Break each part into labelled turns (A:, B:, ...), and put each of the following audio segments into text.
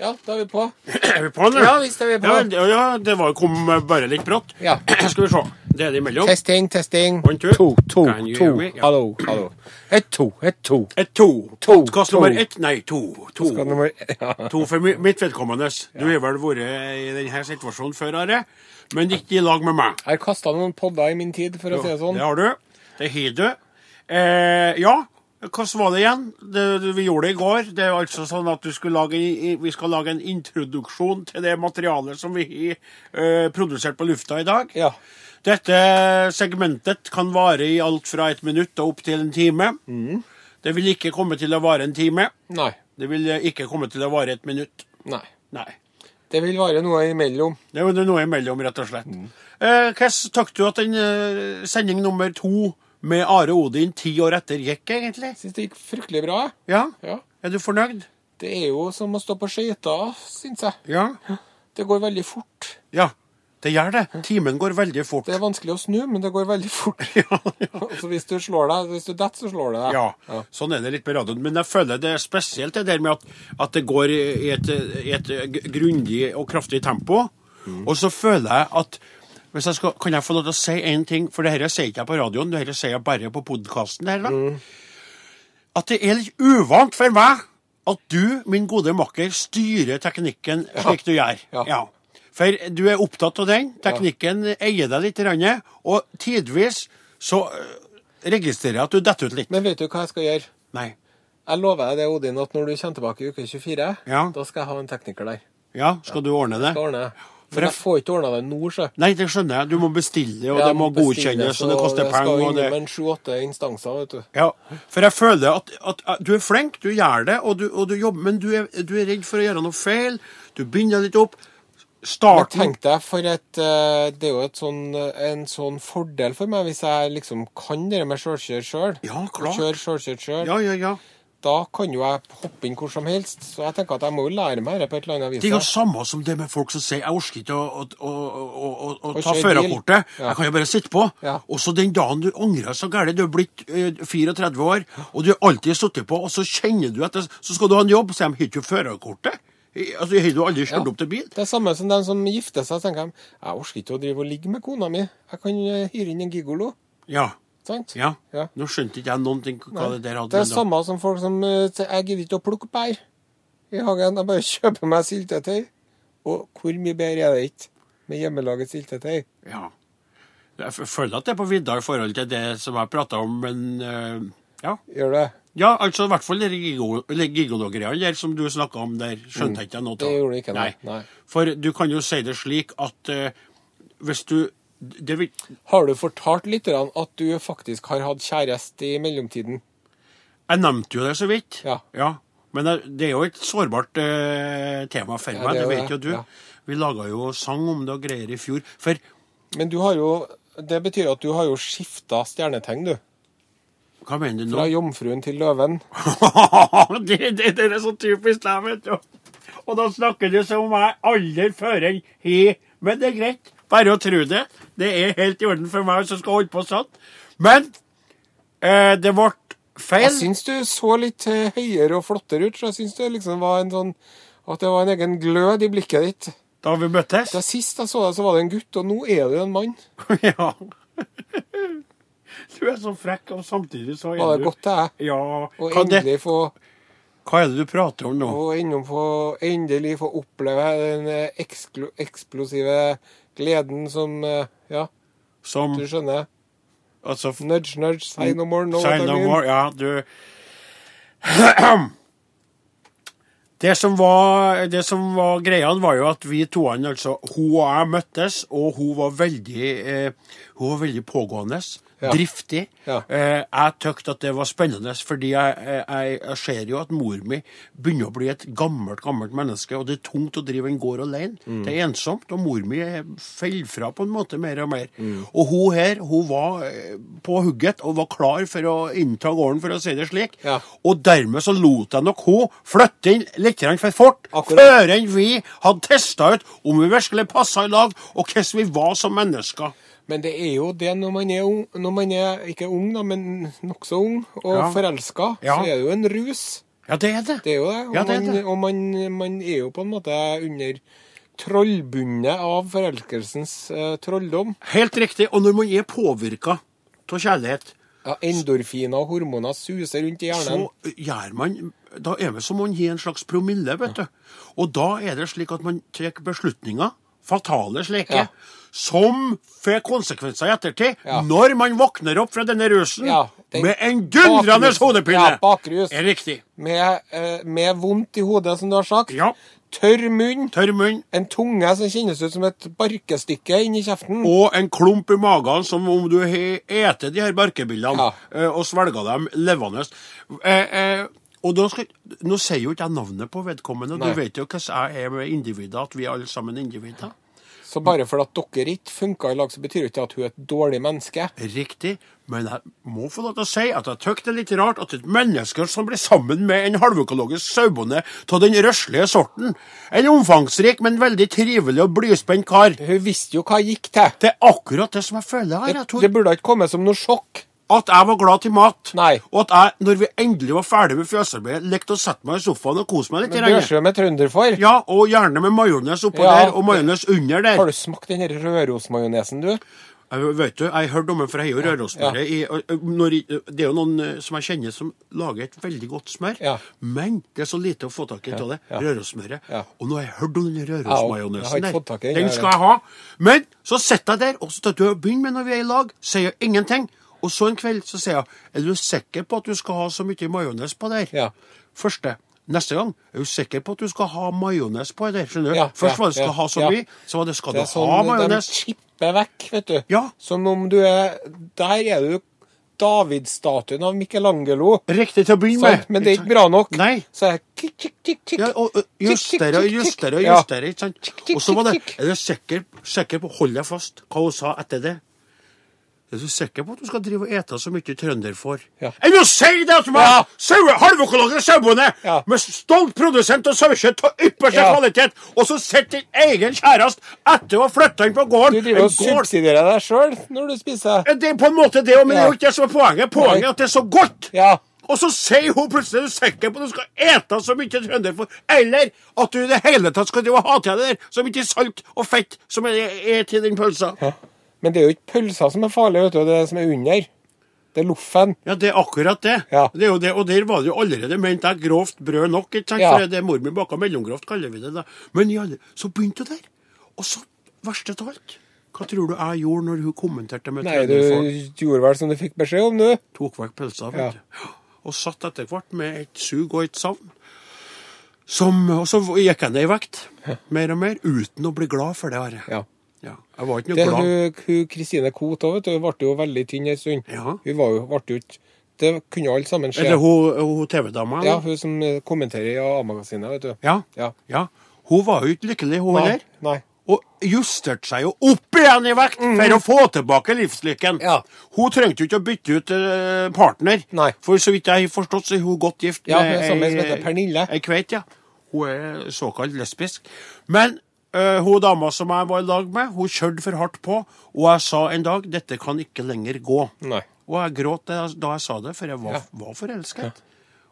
A: Ja, da er vi på.
B: Er vi på, eller?
A: Ja, visst er vi på.
B: Ja, ja, ja, det var, kom eh, bare litt brått.
A: Ja.
B: Skal vi se. Det er det imellom.
A: Testing, testing.
B: One, two.
A: To, to,
B: Can you hear
A: to.
B: me? Ja.
A: Hallo, hallo. Et to, et to.
B: Et to.
A: To,
B: Podkast
A: to.
B: nummer ett. Nei, to. To,
A: Skal nummer- Ja.
B: to for mi- mitt vedkommende. Du har vel vært i denne situasjonen før, Are, men ikke i lag med meg.
A: Jeg har kasta noen podder i min tid, for å si det sånn.
B: Det har du. Det har du. Eh, ja, hvordan var det igjen? Det, det, vi gjorde det i går. Det er altså sånn at du skulle lage, i- vi skal lage en introduksjon til det materialet som vi har eh, produsert på lufta i dag.
A: Ja.
B: Dette segmentet kan vare i alt fra et minutt og opp til en time. Det vil ikke komme til å vare en time.
A: Nei.
B: Det vil eh, ikke komme til å vare et minutt.
A: Nei.
B: Nei.
A: Det vil være noe imellom.
B: Det er jo noe imellom, rett og slett. Eh, Hvordan takk du at den eh, sending nummer to med Are Odin ti år etter gikk, egentlig?
A: Syns det gikk fryktelig bra. jeg.
B: Ja?
A: Ja.
B: Er du fornøyd?
A: Det er jo som å stå på skøyter, syns jeg.
B: Ja.
A: Det går veldig fort.
B: Ja, det gjør det. Timen går veldig fort.
A: Det er vanskelig å snu, men det går veldig fort.
B: Ja,
A: Så hvis du slår deg, hvis du detter, så slår du deg.
B: Ja, sånn er det litt med radioen. Men jeg føler det er spesielt det der med at, at det går i et, i et gr- grundig og kraftig tempo.
A: Mm.
B: Og så føler jeg at hvis jeg skal, Kan jeg få lov til å si én ting? For det dette sier ikke jeg på radioen, det dette sier jeg bare på podkasten. her da.
A: Mm.
B: At det er litt uvant for meg at du, min gode makker, styrer teknikken slik du gjør.
A: Ja.
B: For du er opptatt av den. Teknikken eier deg litt, grann, og tidvis så øh, registrerer jeg at du detter ut litt.
A: Men vet du hva jeg skal gjøre?
B: Nei.
A: Jeg lover deg det, Odin, at når du kommer tilbake i uke 24,
B: Ja.
A: da skal jeg ha en tekniker der.
B: Ja, skal du ordne det?
A: Skal ordne det.
B: For
A: Men jeg
B: jeg-
A: får ikke ordna det nå, sjø.
B: Nei, det skjønner jeg. Du må bestille, og
A: Jeg
B: det må
A: bestille,
B: godkjennes,
A: så
B: og det koster penger.
A: Jeg
B: og
A: skal
B: det...
A: innom en sju-åtte instanser, vet du.
B: Ja, for jeg føler at, at at du er flink, du gjør det, og du, og du jobber, men du er, du er redd for å gjøre noe feil. Du binder litt opp.
A: Men
B: Starten
A: tenk deg, for et, eh, det er jo et sånn, en sånn fordel for meg hvis jeg liksom kan det med sjølkjør sjøl.
B: Ja, klart.
A: Kjør sjølkjørt sjøl.
B: Ja, ja, ja.
A: Da kan jo jeg hoppe inn hvor som helst. Så jeg tenker at jeg må jo lære meg det på et eller annet vis.
B: Det er jo
A: da.
B: samme som det med folk som sier 'jeg orker ikke å, å, å, å, å, å
A: Å
B: ta
A: kjøre
B: førerkortet',
A: bil. Ja.
B: 'jeg kan jo bare sitte på'.
A: Ja.
B: Og så den dagen du angrer så gærent, du er blitt eh, 34 år, og du har alltid sittet på, og så kjenner du etter, så skal du ha en jobb, så sier de 'har du ikke førerkortet'? I- Altså, har du aldri kjørt opp til bil?
A: Det er samme som dem som gifter seg. tenker Jeg jeg orker ikke å drive og ligge med kona mi. Jeg kan eh, hyre inn en gigolo.
B: Ja.
A: Sant?
B: ja.
A: Ja.
B: Nå skjønte ikke jeg noen ting hva det der hadde
A: Det er
B: med da.
A: samme som folk som eh, sier jeg gidder ikke å plukke bær i hagen. Jeg bare kjøper meg syltetøy. Og hvor mye bedre er det ikke med hjemmelaget syltetøy?
B: Ja. Jeg f- føler at det er på vidda i forhold til det som jeg prata om, men eh, ja.
A: Gjør det?
B: Ja, altså i hvert fall de gigo- eller gigolo-greiene der som du snakka om der, skjønte jeg ikke noe av.
A: Mm. Det gjorde du ikke, nei. Nei.
B: For du kan jo si det slik at eh, hvis du det vil,
A: Har du fortalt lytterne at du faktisk har hatt kjæreste i mellomtiden?
B: Jeg nevnte jo det så vidt.
A: Ja.
B: Men det- det er jo et sårbart eh, tema for
A: Ja,
B: meg,
A: det
B: det,
A: er jo
B: vet
A: det,
B: jo du.
A: ja.
B: Vi laga jo sang om det og greier i fjor. For
A: Men du har jo Det betyr at du har jo skifta stjernetegn, du.
B: hva mener du nå?
A: Fra jomfruen til løven.
B: det, det, det er så typisk deg, vet du. Og da snakker du som om jeg aldri før enn he. Men det er greit. Bare å tro det. Det er helt i orden for meg som skal holde på sånn. Men eh, det ble feil.
A: Jeg syns du så litt eh, høyere og flottere ut, så jeg syns det liksom var en sånn At det var en egen glød i blikket ditt.
B: Da vi møttes.
A: Da sist jeg så deg, så var det en gutt, og nå er du en mann.
B: ja. Du er så frekk, og samtidig så er
A: Var det
B: du
A: godt til deg?
B: Ja.
A: Å
B: Hva, det,
A: endelig få,
B: hva er det du prater om nå?
A: å innom få, endelig få oppleve den eh, eksklu, eksplosive gleden som eh, Ja,
B: Som
A: du skjønner.
B: altså,
A: Nudge, nudge, say no more, no
B: Say
A: what I
B: no
A: mean.
B: more, ja, du Det som var, det som var greia, var jo at vi toene, altså hun og jeg, møttes, og hun var veldig, eh, hun var veldig pågående.
A: Ja.
B: Driftig.
A: Ja.
B: Eh, jeg tykte at det var spennende, fordi jeg, jeg, jeg- jeg ser jo at mor mi begynner å bli et gammelt gammelt menneske, og det er tungt å drive en gård alene.
A: Mm.
B: Det er ensomt, og mor mi eh, faller fra på en måte mer og mer.
A: Mm.
B: Og hun her hun var eh, på hugget og var klar for å innta gården, for å si det slik.
A: Ja.
B: Og dermed så lot jeg nok hun flytte inn litt grann for fort,
A: Akkurat.
B: før enn vi hadde testa ut om vi virkelig passa i lag, og hvordan vi var som mennesker.
A: Men det er jo det når man er ung, når man er ikke ung, da, men nokså ung, og
B: Ja.
A: forelska,
B: Ja.
A: så er det jo en rus.
B: Ja, det er det.
A: Det er jo det. Og,
B: Ja, det er det.
A: Man, og man, man er jo på en måte under trollbundet av forelskelsens eh, trolldom.
B: Helt riktig. Og når man er påvirka av kjærlighet,
A: Ja, endorfiner og hormoner suser rundt i hjernen.
B: så gjør man Da er det som om man har en slags promille, vet du. Og da er det slik at man tar beslutninger, fatale slike,
A: Ja.
B: som får konsekvenser i ettertid.
A: Ja.
B: Når man våkner opp fra denne rusen
A: Ja, den-
B: med en dundrende
A: Bakrus.
B: hodepine.
A: Ja, bakrus.
B: Er riktig.
A: Med, eh, med vondt i hodet, som du har sagt.
B: Ja.
A: Tørr munn.
B: Tørr munn.
A: En tunge som kjennes ut som et barkestykke inni kjeften.
B: Og en klump i magen som om du har etet de her barkebillene
A: Ja.
B: eh, og svelga dem levende. Eh, eh, og da skal, Nå sier jo ikke jeg navnet på vedkommende.
A: Nei.
B: Du vet jo hvordan jeg er med individer, at vi er alle sammen individer.
A: Så bare fordi at dere ikke funka i lag, så betyr jo ikke det at hun er et dårlig menneske.
B: Riktig. Men jeg må få lov til å si at jeg tykker det er litt rart at et menneske som blir sammen med en halvøkologisk sauebonde av den røslige sorten, en omfangsrik, men veldig trivelig og blyspent kar
A: Hun visste jo hva jeg gikk til.
B: Det er akkurat det som jeg føler her.
A: Det,
B: Jeg tror
A: det burde ikke komme som noe sjokk.
B: At jeg var glad til mat.
A: Nei.
B: Og at jeg, når vi endelig var ferdig med fjøsarbeidet, lekte å sette meg i sofaen og kose meg litt. i regnet.
A: Børsø med trønder for.
B: Ja, og gjerne med majones oppå
A: Ja.
B: der, og majones under der.
A: Har du smakt den her rørosmajonesen, du?
B: Jeg, vet du, jeg hørte om en fra Heio Rørosmøret. i- og- og når i- Det er jo noen eh, som jeg kjenner som lager et veldig godt smør,
A: Ja.
B: men det er så lite å få tak i av det.
A: ja.
B: Rørosmøret.
A: Ja.
B: Og nå har jeg hørt om den
A: Ja, jeg har
B: rørosmajonesen
A: ikke fått tak i den,
B: Den
A: jeg
B: skal jeg ha. Men så sitter jeg der, og så til å begynne med når vi er i lag, sier jeg ingenting. Og så en kveld så sier jeg Er du sikker på at du skal ha så mye majones på der?
A: Ja.
B: Første. Neste gang er du sikker på at du skal ha majones på der? skjønner du?
A: Ja,
B: Først
A: ja,
B: var det skal
A: ja,
B: ha så
A: ja.
B: mye, så var det skal
A: Det
B: du
A: er sånn
B: ha
A: de
B: majones.
A: chipper vekk, vet du.
B: Ja.
A: Som om du er Der er du Davidstatuen av Michelangelo.
B: Riktig til å begynne med.
A: Sant? Men det er ikke bra nok.
B: Nei.
A: Så jeg kikk, kikk, kikk, kikk.
B: Ja, og og justere og justere og
A: Ja.
B: justere. ikke sant? Og så var det Er du sikker, sikker på Hold deg fast hva hun sa etter det. Er du sikker på at du skal drive og ete så mye trønderfår?
A: Ja.
B: Enn å si det altså, til
A: Ja.
B: meg! Saue, halvøkologisk sauebonde
A: Ja.
B: med stolt produsent av sauekjøtt av ypperste
A: Ja.
B: kvalitet, og så sitter din egen kjæreste etter å ha flytta inn på
A: Du
B: gården
A: driver og
B: En gård-
A: subsidierer deg sjøl når du spiser.
B: Det er på en måte det òg, men det er
A: Ja.
B: jo ikke det som er poenget. Poenget er at det er så godt.
A: Ja.
B: Og så sier hun plutselig er du sikker på at du skal ete så mye trønderfôr, eller at du i det hele tatt skal drive og ha til deg der så mye salt og fett som er, er til den pølsa. Ja.
A: Men det er jo ikke pølser som er farlig, vet du. Det er det som er under. Det er loffen.
B: det er akkurat det.
A: Ja.
B: det, er jo det. Og der var det jo allerede ment jeg grovt brød nok, ikke sant?
A: Ja.
B: for det er mor mi baka mellomgrovt, kaller vi det da. Men i alle, så begynte hun der. Og så, verst av alt, hva tror du jeg gjorde når hun kommenterte med
A: Nei, du
B: trønderfôr?
A: gjorde vel som du fikk beskjed om, du.
B: tok vekk pølsa,
A: Ja.
B: vet du. Og satt etter hvert med et sug og et savn. Som, og så gikk jeg ned i vekt, mer og mer, uten å bli glad for det. Her.
A: Ja.
B: Ja, jeg var ikke
A: Det
B: noe
A: er
B: glad.
A: hun hun Kristine Koht òg, vet du. Hun ble jo veldig tynn en stund.
B: Ja.
A: Hun var jo, ble jo ikke Det kunne alle sammen skje.
B: Eller hun, hun TV-dama.
A: Ja, hun som eh, kommenterer i A-magasinet, vet du.
B: ja.
A: Ja.
B: ja. Hun var jo ikke lykkelig, hun
A: Nei.
B: heller.
A: Nei.
B: Og justerte seg jo opp igjen i vekt for å få tilbake livslykken.
A: Mhm. Ja.
B: Hun trengte jo ikke å bytte ut eh, partner.
A: Nei.
B: For så vidt jeg har forstått, så er hun godt gift
A: Ja, hun er sammen med
B: ei-
A: som heter Pernille.
B: Ei kveit, ja. Hun er såkalt lesbisk. Men eh, hun dama som jeg var i lag med, hun kjørte for hardt på, og jeg sa en dag 'dette kan ikke lenger gå'.
A: Nei.
B: Og jeg gråt da jeg- da jeg sa det, for jeg var, var forelsket.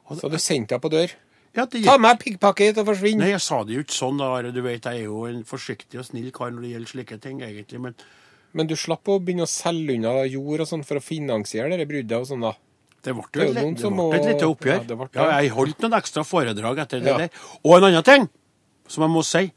A: Så du sendte henne på dør.
B: Ja, det
A: Ta
B: gikk.
A: med piggpakket og forsvinn!
B: eh, Nei, jeg sa det jo ikke sånn, da. Are. Du vet, jeg er jo en forsiktig og snill kar når det gjelder slike ting, egentlig. men...
A: Men du slapp å begynne å selge unna jord og sånn for å finansiere det bruddet og sånn, da.
B: Det ble
A: er jo
B: jo et,
A: noen
B: litt- det
A: som
B: ble
A: må-
B: et lite oppgjør.
A: Ja, det ble det.
B: Ja, jeg holdt noen ekstra foredrag etter det
A: Ja.
B: der. Og en annen ting som jeg må si.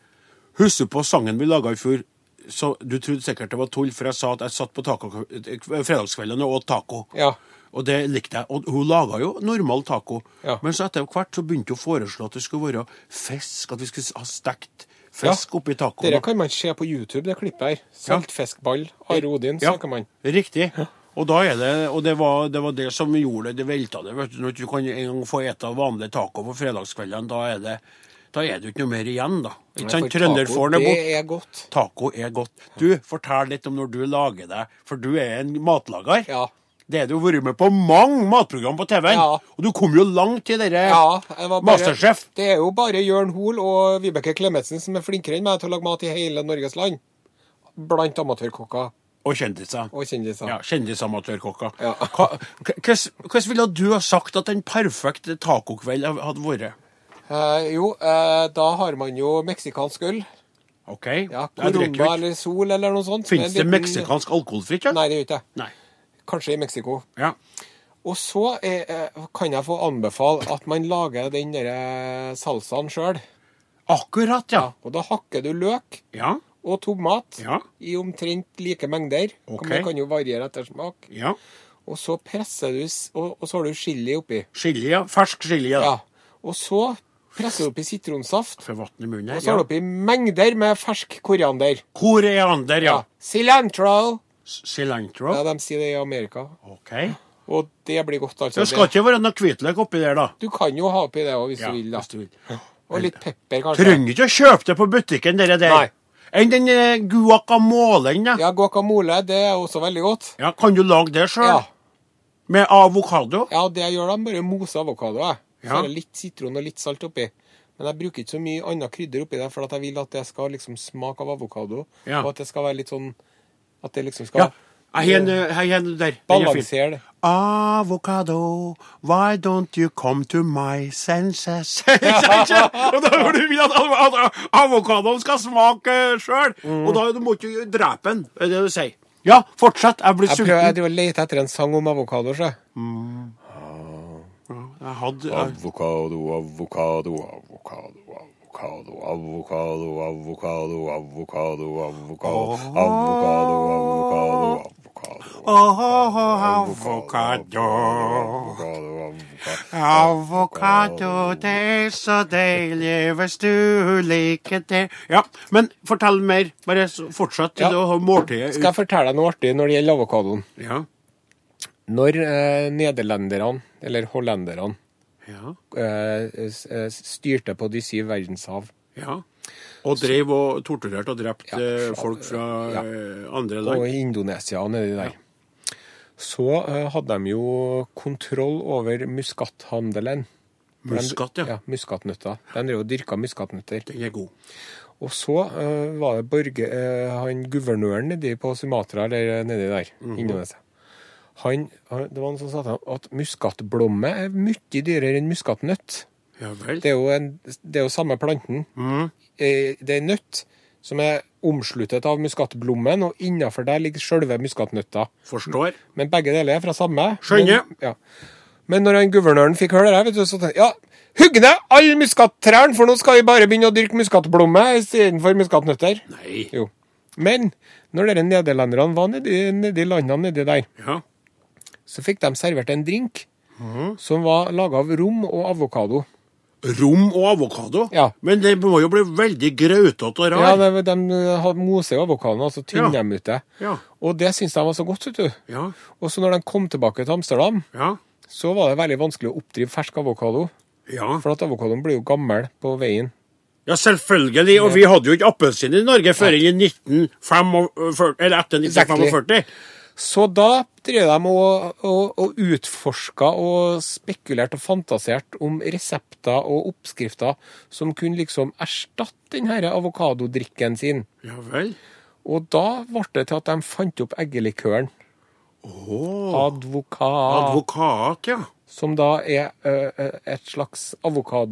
B: Husker du på sangen vi laga i fjor? Så Du trodde sikkert det var tull, for jeg sa at jeg satt på taco, eh, fredagskveldene og åt taco.
A: Ja.
B: Og det likte jeg. Og hun laga jo normal taco.
A: Ja.
B: Men så etter hvert så begynte hun å foreslå at det skulle være fisk, at vi skulle ha stekt fisk oppi tacoen.
A: Dette kan man se på YouTube, det klippet her. Saltfiskball, Are Odin,
B: Ja,
A: snakker man.
B: Riktig. Og, da er det, og det, var, det var det som gjorde det. Det velta det. vet du. Når du ikke kan en gang få ete vanlig taco på fredagskveldene, da er det da er det jo ikke noe mer igjen, da. Ikke sant?
A: For
B: Trønderfåren
A: taco,
B: er borte.
A: Det er godt.
B: Taco er godt. Du, fortell litt om når du lager deg, for du er en matlager.
A: Ja.
B: Det har du vært med på mange matprogram på TV-en.
A: Ja.
B: Og du kom jo langt i dere
A: Ja, jeg var bare,
B: Masterchef.
A: Det er jo bare Jørn Hoel og Vibeke Klemetsen som er flinkere enn meg til å lage mat i hele Norges land. Blant amatørkokker.
B: Og kjendiser.
A: Og kjendiser.
B: Ja, Kjendisamatørkokker.
A: Ja.
B: Hva- k- Hvordan hvordan ville du ha sagt at en perfekt tacokveld ha- hadde vært?
A: Eh, jo, eh, da har man jo meksikansk øl.
B: OK?
A: Ja,
B: Jeg drikker jo
A: Corona
B: ikke.
A: eller Sol eller noe sånt. Med
B: Finnes det
A: en liten-
B: meksikansk alkoholfritt? Ja?
A: Nei, det gjør ikke det.
B: Nei.
A: Kanskje i Mexico.
B: Ja.
A: Og så er, eh, kan jeg få anbefale at man lager den der eh, salsaen sjøl.
B: Akkurat, ja.
A: Og da hakker du løk
B: Ja.
A: og tomat
B: Ja.
A: i omtrent like mengder.
B: Ok.
A: Det kan jo variere etter smak.
B: ja.
A: Og så presser du, s- og, og så har du chili oppi.
B: Chili, ja. Fersk chili, ja.
A: Ja. Og så presser du oppi sitronsaft.
B: For vann i munnen her.
A: Og så har du
B: Ja.
A: oppi mengder med fersk koriander.
B: Koreander, ja.
A: Ja. Cilantro!
B: S- Cilantro.
A: Ja, de sier det i Amerika.
B: OK.
A: Og det blir godt, altså.
B: Det skal ikke være noe hvitløk oppi der, da.
A: Du kan jo ha oppi det òg, hvis
B: Ja,
A: du vil. da.
B: hvis du vil.
A: Og litt pepper, kanskje.
B: Trenger ikke å kjøpe det på butikken, dere der.
A: Nei.
B: Enn den eh, guacamolen, ja.
A: Ja, guacamole, det er også veldig godt.
B: ja. Kan du lage det sjøl?
A: Ja,
B: Med avokado?
A: ja det jeg gjør da, bare mose avokado. jeg. Så
B: Ja.
A: er det litt sitron og litt salt oppi. Men jeg bruker ikke så mye annet krydder oppi det, for at jeg vil at det skal liksom smake av avokado.
B: Ja.
A: Og at det skal være litt sånn At det liksom skal
B: Ja. Jeg har en, eh, jeg har en der. Den er fin.
A: balansere det.
B: Avokado, why don't you come to my senses? Ikke sant? og da hvor du vil at av- at avokadoen skal smake sjøl, og da du må du ikke drepe den, er det du sier. Mm. Ja, fortsett, jeg blir
A: Jeg prøver jeg
B: sulten.
A: driver og leter etter en sang om avokado. så jeg.
B: Jeg hadde, jeg,
A: Avokado, avokado, avokado, avokado, avokado, avokado, avokado, avokado, avokado, avokado, avokado.
B: Åh, avokado, Oh. avokado, det er så deilig hvis du liker det. Ja, men fortell mer. Bare s- fortsett til
A: Ja.
B: du har måltidet.
A: Skal jeg fortelle deg noe artig når det gjelder avokadoen?
B: Ja,
A: Når eh, nederlenderne, eller hollenderne,
B: ja,
A: eh, s- eh, styrte på de syv verdenshav,
B: ja. Og drev og torturerte og drepte
A: Ja,
B: folk fra
A: ja.
B: eh, andre
A: og
B: land.
A: i Indonesia og nedi der, så eh, hadde de jo kontroll over muskathandelen.
B: Muskat, ja.
A: Ja, muskatnøtter. De drev og dyrka muskatnøtter.
B: Den er god.
A: Og så eh, var det Borge, eh, han guvernøren nedi på Sumatra, eller nedi der, Indonesia. Han, han, det var han som sa til ham at muskatblomme er mye dyrere enn muskatnøtt.
B: Ja vel.
A: Det er jo, en, det er jo samme planten. Eh, Det er en nøtt som er omsluttet av muskatblommen, og innafor der ligger sjølve muskatnøtta.
B: Forstår.
A: Men begge deler er fra samme.
B: Skjønner.
A: Men, ja. Men når han guvernøren fikk høre det, her, vet du, så tenkte jeg, ja, hugg ned alle muskattrærne, for nå skal vi bare begynne å dyrke muskatblomme istedenfor muskatnøtter.
B: Nei.
A: Jo. Men når dere nederlenderne var nedi, nedi landene nedi der,
B: Ja.
A: så fikk de servert en drink
B: Mhm.
A: som var laga av rom og avokado.
B: Rom og avokado.
A: Ja.
B: Men det må jo bli veldig grautete og
A: Ja,
B: rar.
A: de, de hadde mose i avokadoen, altså tynne
B: Ja.
A: dem ut det.
B: Ja.
A: Og det syntes de var så godt, vet du.
B: Ja.
A: Og så når de kom tilbake til Amsterdam,
B: Ja.
A: så var det veldig vanskelig å oppdrive fersk avokado.
B: ja.
A: For at avokadoen blir jo gammel på veien.
B: Ja, selvfølgelig. Og vi hadde jo ikke appelsin i Norge før i 1945, eller etter
A: Exactly.
B: 1945.
A: Så da drev de og, og, og utforska og spekulerte og fantaserte om resepter og oppskrifter som kunne liksom erstatte den her avokadodrikken sin.
B: Ja vel.
A: Og da ble det til at de fant opp eggelikøren.
B: Åh,
A: Advokat.
B: advokat, ja.
A: som da er ø, ø, et slags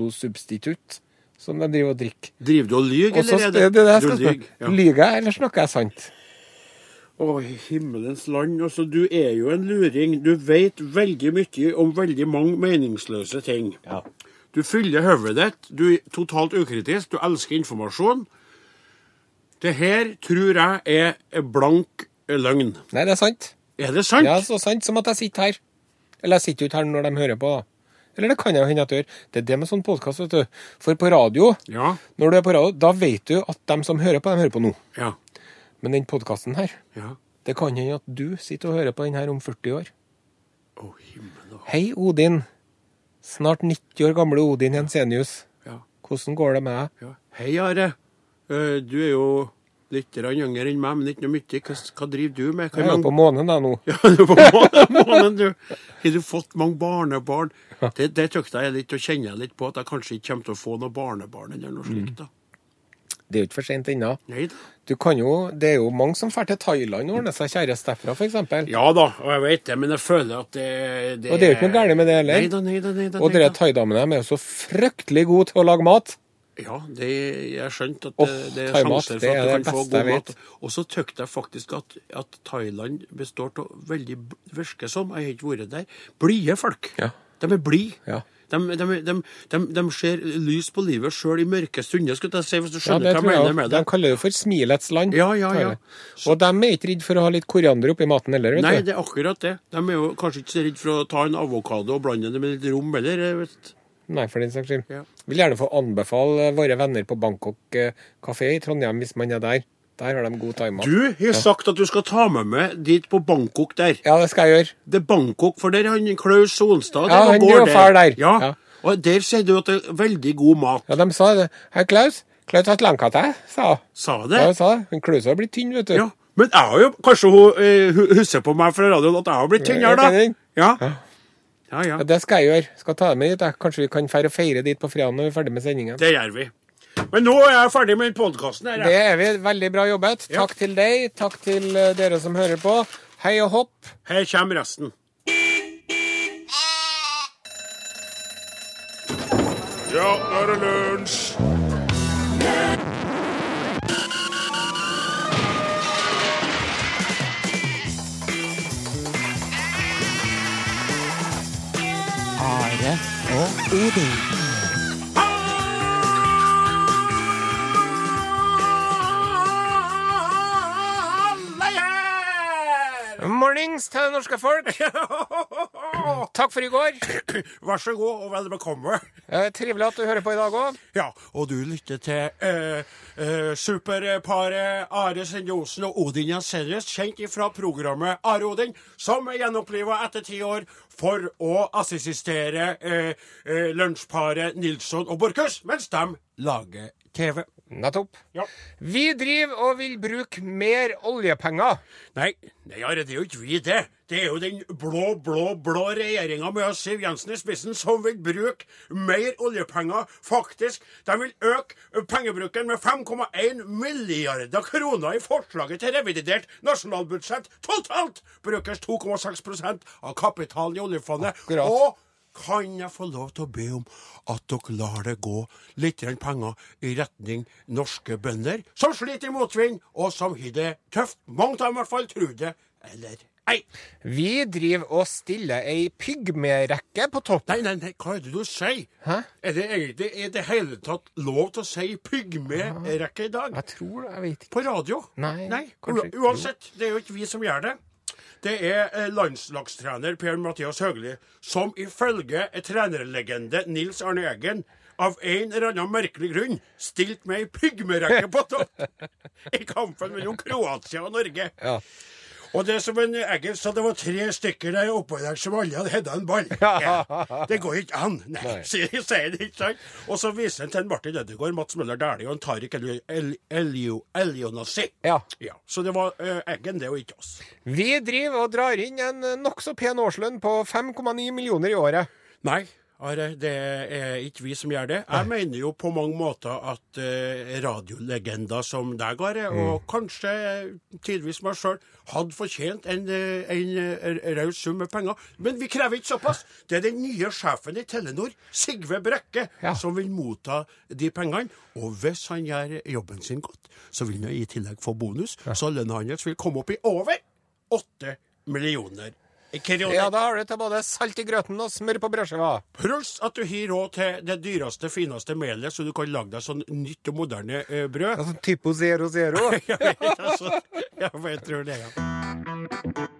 A: avokadosubstitutt som de driver og drikker.
B: Driver du og lyver,
A: Og så
B: eller
A: det er det jeg
B: Du
A: skal
B: lyger,
A: spørre. Lyver jeg, eller snakker jeg sant?
B: Å, himmelens land. Altså, du er jo en luring. Du vet veldig mye om veldig mange meningsløse ting.
A: Ja.
B: Du fyller hodet ditt. Du er totalt ukritisk. Du elsker informasjon. Det her tror jeg er blank løgn.
A: Nei, det er sant.
B: Er det sant?
A: Det er så sant som at jeg sitter her. Eller jeg sitter jo ikke her når de hører på, da. Eller det kan jeg jo hende at jeg gjør. Det er det med sånn podkast, vet du. For på radio,
B: Ja.
A: når du er på radio, da vet du at dem som hører på, de hører på nå.
B: Ja.
A: Men den podkasten her,
B: ja.
A: det kan hende at du sitter og hører på den her om 40 år.
B: Å, himmel og
A: Hei, Odin. Snart 90 år gamle Odin Jensenius.
B: ja,
A: Hvordan går det med deg?
B: ja. Hei, Are. Eh, Du er jo litt grann yngre enn meg, men ikke noe mye. Hva, hva driver du med? Hva
A: Jeg er jo
B: mange-
A: på månen, jeg nå.
B: Ja, du er på månen, månen, du. Har du fått mange barnebarn? Det,
A: Mm.
B: det tykte jeg litt, og kjenner jeg litt på, at jeg kanskje ikke kommer til å få noe barnebarn eller noe slikt. da.
A: Det er jo ikke for sent ennå.
B: Nei da.
A: Du kan jo, det er jo mange som drar til Thailand og ordner seg kjæreste derfra, f.eks.
B: Ja da, og jeg vet det, men jeg føler at det,
A: Og det er jo ikke noe gærent med det heller.
B: Nei da, nei da, nei da.
A: Og dere thaidamene de er jo så fryktelig gode til å lage mat.
B: Ja, det, jeg har skjønt at
A: Åh,
B: det, det er
A: thaimat,
B: sjanser
A: det
B: for
A: er
B: at
A: det
B: du kan
A: beste
B: få god
A: jeg
B: mat.
A: vet.
B: Og så tykte jeg faktisk at, at Thailand består av veldig, b- virker som, jeg har ikke vært der, blide folk.
A: Ja.
B: De er blide.
A: Ja.
B: De, de, de, de, de ser lys på livet sjøl i mørke stunder, skulle jeg si, hvis du
A: Ja,
B: skjønner
A: det
B: hva jeg
A: tror jeg
B: mener
A: også.
B: med
A: De
B: det.
A: kaller det jo for smilets land.
B: Ja, ja, ja.
A: Thailand. Og de er ikke redd for å ha litt koriander oppi maten heller,
B: Nei,
A: vet du.
B: det er akkurat det. De er jo kanskje ikke så redd for å ta en avokado og blande det med litt rom, eller? jeg Vet.
A: Nei, for den saks skyld.
B: Ja.
A: Vil gjerne få anbefale våre venner på Bangkok eh, kafé i Trondheim, hvis man er der. Der har de god thaimat.
B: Du har sagt at du skal ta med meg dit på Bangkok der.
A: Ja, det skal jeg gjøre.
B: Det er Bangkok, for der er han Klaus Sonstad.
A: Ja,
B: der
A: han
B: går
A: er jo far der.
B: Ja.
A: Ja.
B: Og der sier du at det er veldig god mat.
A: Ja, de sa det. Hei, Klaus. Klaus har et langkatt her, sa hun.
B: Sa
A: Ja,
B: det?
A: hun sa det. Men Klaus har blitt tynn, vet du.
B: Ja. Men jeg har jo Kanskje hun eh, hu- husker på meg fra radioen at jeg har blitt tynnere,
A: Ja,
B: da?
A: tenning.
B: Ja. Ja, ja.
A: Ja, det skal jeg gjøre. Skal ta dem med dit. jeg. Kanskje vi kan fære og feire dit på fredag når vi er ferdig med sendingen.
B: Det gjør vi. Men nå er jeg ferdig med podkasten her.
A: Det
B: jeg.
A: er vi. Veldig bra jobbet. Takk til deg. Takk til eh, dere som hører på. Hei og hopp.
B: Her kommer resten. Ja, nå er det lunsj!
C: Are og Odin.
A: Mornings til det norske folk. Takk for i går.
B: Vær så god og vel bekomme.
A: Eh, Trivelig at du hører på i dag òg.
B: Ja, og du lytter til eh, eh, superparet Are Sende Osen og Odin Jensenius, kjent ifra programmet Are Odin, som er gjenoppliva etter ti år for å assistere eh, eh, lunsjparet Nilsson og Borchhus mens de lager TV.
A: Nettopp.
B: Ja.
A: Vi driver og vil bruke mer oljepenger.
B: Nei, nei, Are, det er jo ikke vi, det. Det er jo den blå, blå, blå regjeringa med Siv Jensen i spissen som vil bruke mer oljepenger, faktisk. De vil øke pengebruken med 5,1 milliarder kroner i forslaget til revidert nasjonalbudsjett. Totalt brukes 2,6 av kapitalen i oljefondet.
A: Akkurat.
B: Og kan jeg få lov til å be om at dere lar det gå litt grann penger i retning norske bønder, som sliter i motvind, og som har det tøft? Mange av dem i hvert fall tror det, eller ei.
A: Vi driver og stiller ei pygmerekke på topp.
B: Nei, nei, nei, hva er det du sier?
A: Hæ?
B: Er det egentlig i det hele tatt lov til å si pygmerekke i dag?
A: Jeg tror det. Jeg vet ikke.
B: På radio?
A: Nei, kanskje
B: Ua-
A: ikke.
B: Uansett, det er jo ikke vi som gjør det. Det er eh, landslagstrener Per Mathias Høgli som ifølge eh, trenerlegende Nils Arne Eggen av en eller annen merkelig grunn stilte med ei pygmerekke på topp i kampen mellom Kroatia og Norge.
A: Ja.
B: Og det som en Eggen sa, det var tre stykker der oppå der som alle hadde hedda en ball.
A: Ja.
B: Det går ikke an! Nei, sier sier det ikke sant? Og så viser han til en Martin Ødegaard, Mats Møller Dæhlie og en Tariq El- El- Elio- Elionassi.
A: Ja.
B: Ja, så det var eh, Eggen, det, og ikke oss.
A: Vi driver og drar inn en eh, nokså pen årslønn på 5,9 millioner i året.
B: Nei, Are, det er ikke vi som gjør det. Jeg mener jo på mange måter at eh, radiolegender som deg, Are,
A: Mm.
B: og kanskje tidvis meg sjøl, hadde fortjent en, eh, en eh, raus sum med penger. Men vi krever ikke såpass. Det er den nye sjefen i Telenor, Sigve Brekke,
A: Ja.
B: som vil motta de pengene. Og hvis han gjør jobben sin godt, så vil han i tillegg få bonus, så lønna hans vil komme opp i over åtte millioner kroner.
A: Ja, da har du til både salt i grøten og smør på brødskiva.
B: Pluss at du har råd til det dyreste, fineste melet, så du kan lage deg sånn nytt og moderne eh, brød.
A: Altså typo zero zero.
B: Jeg vet, altså, ja, for jeg tror det, ja.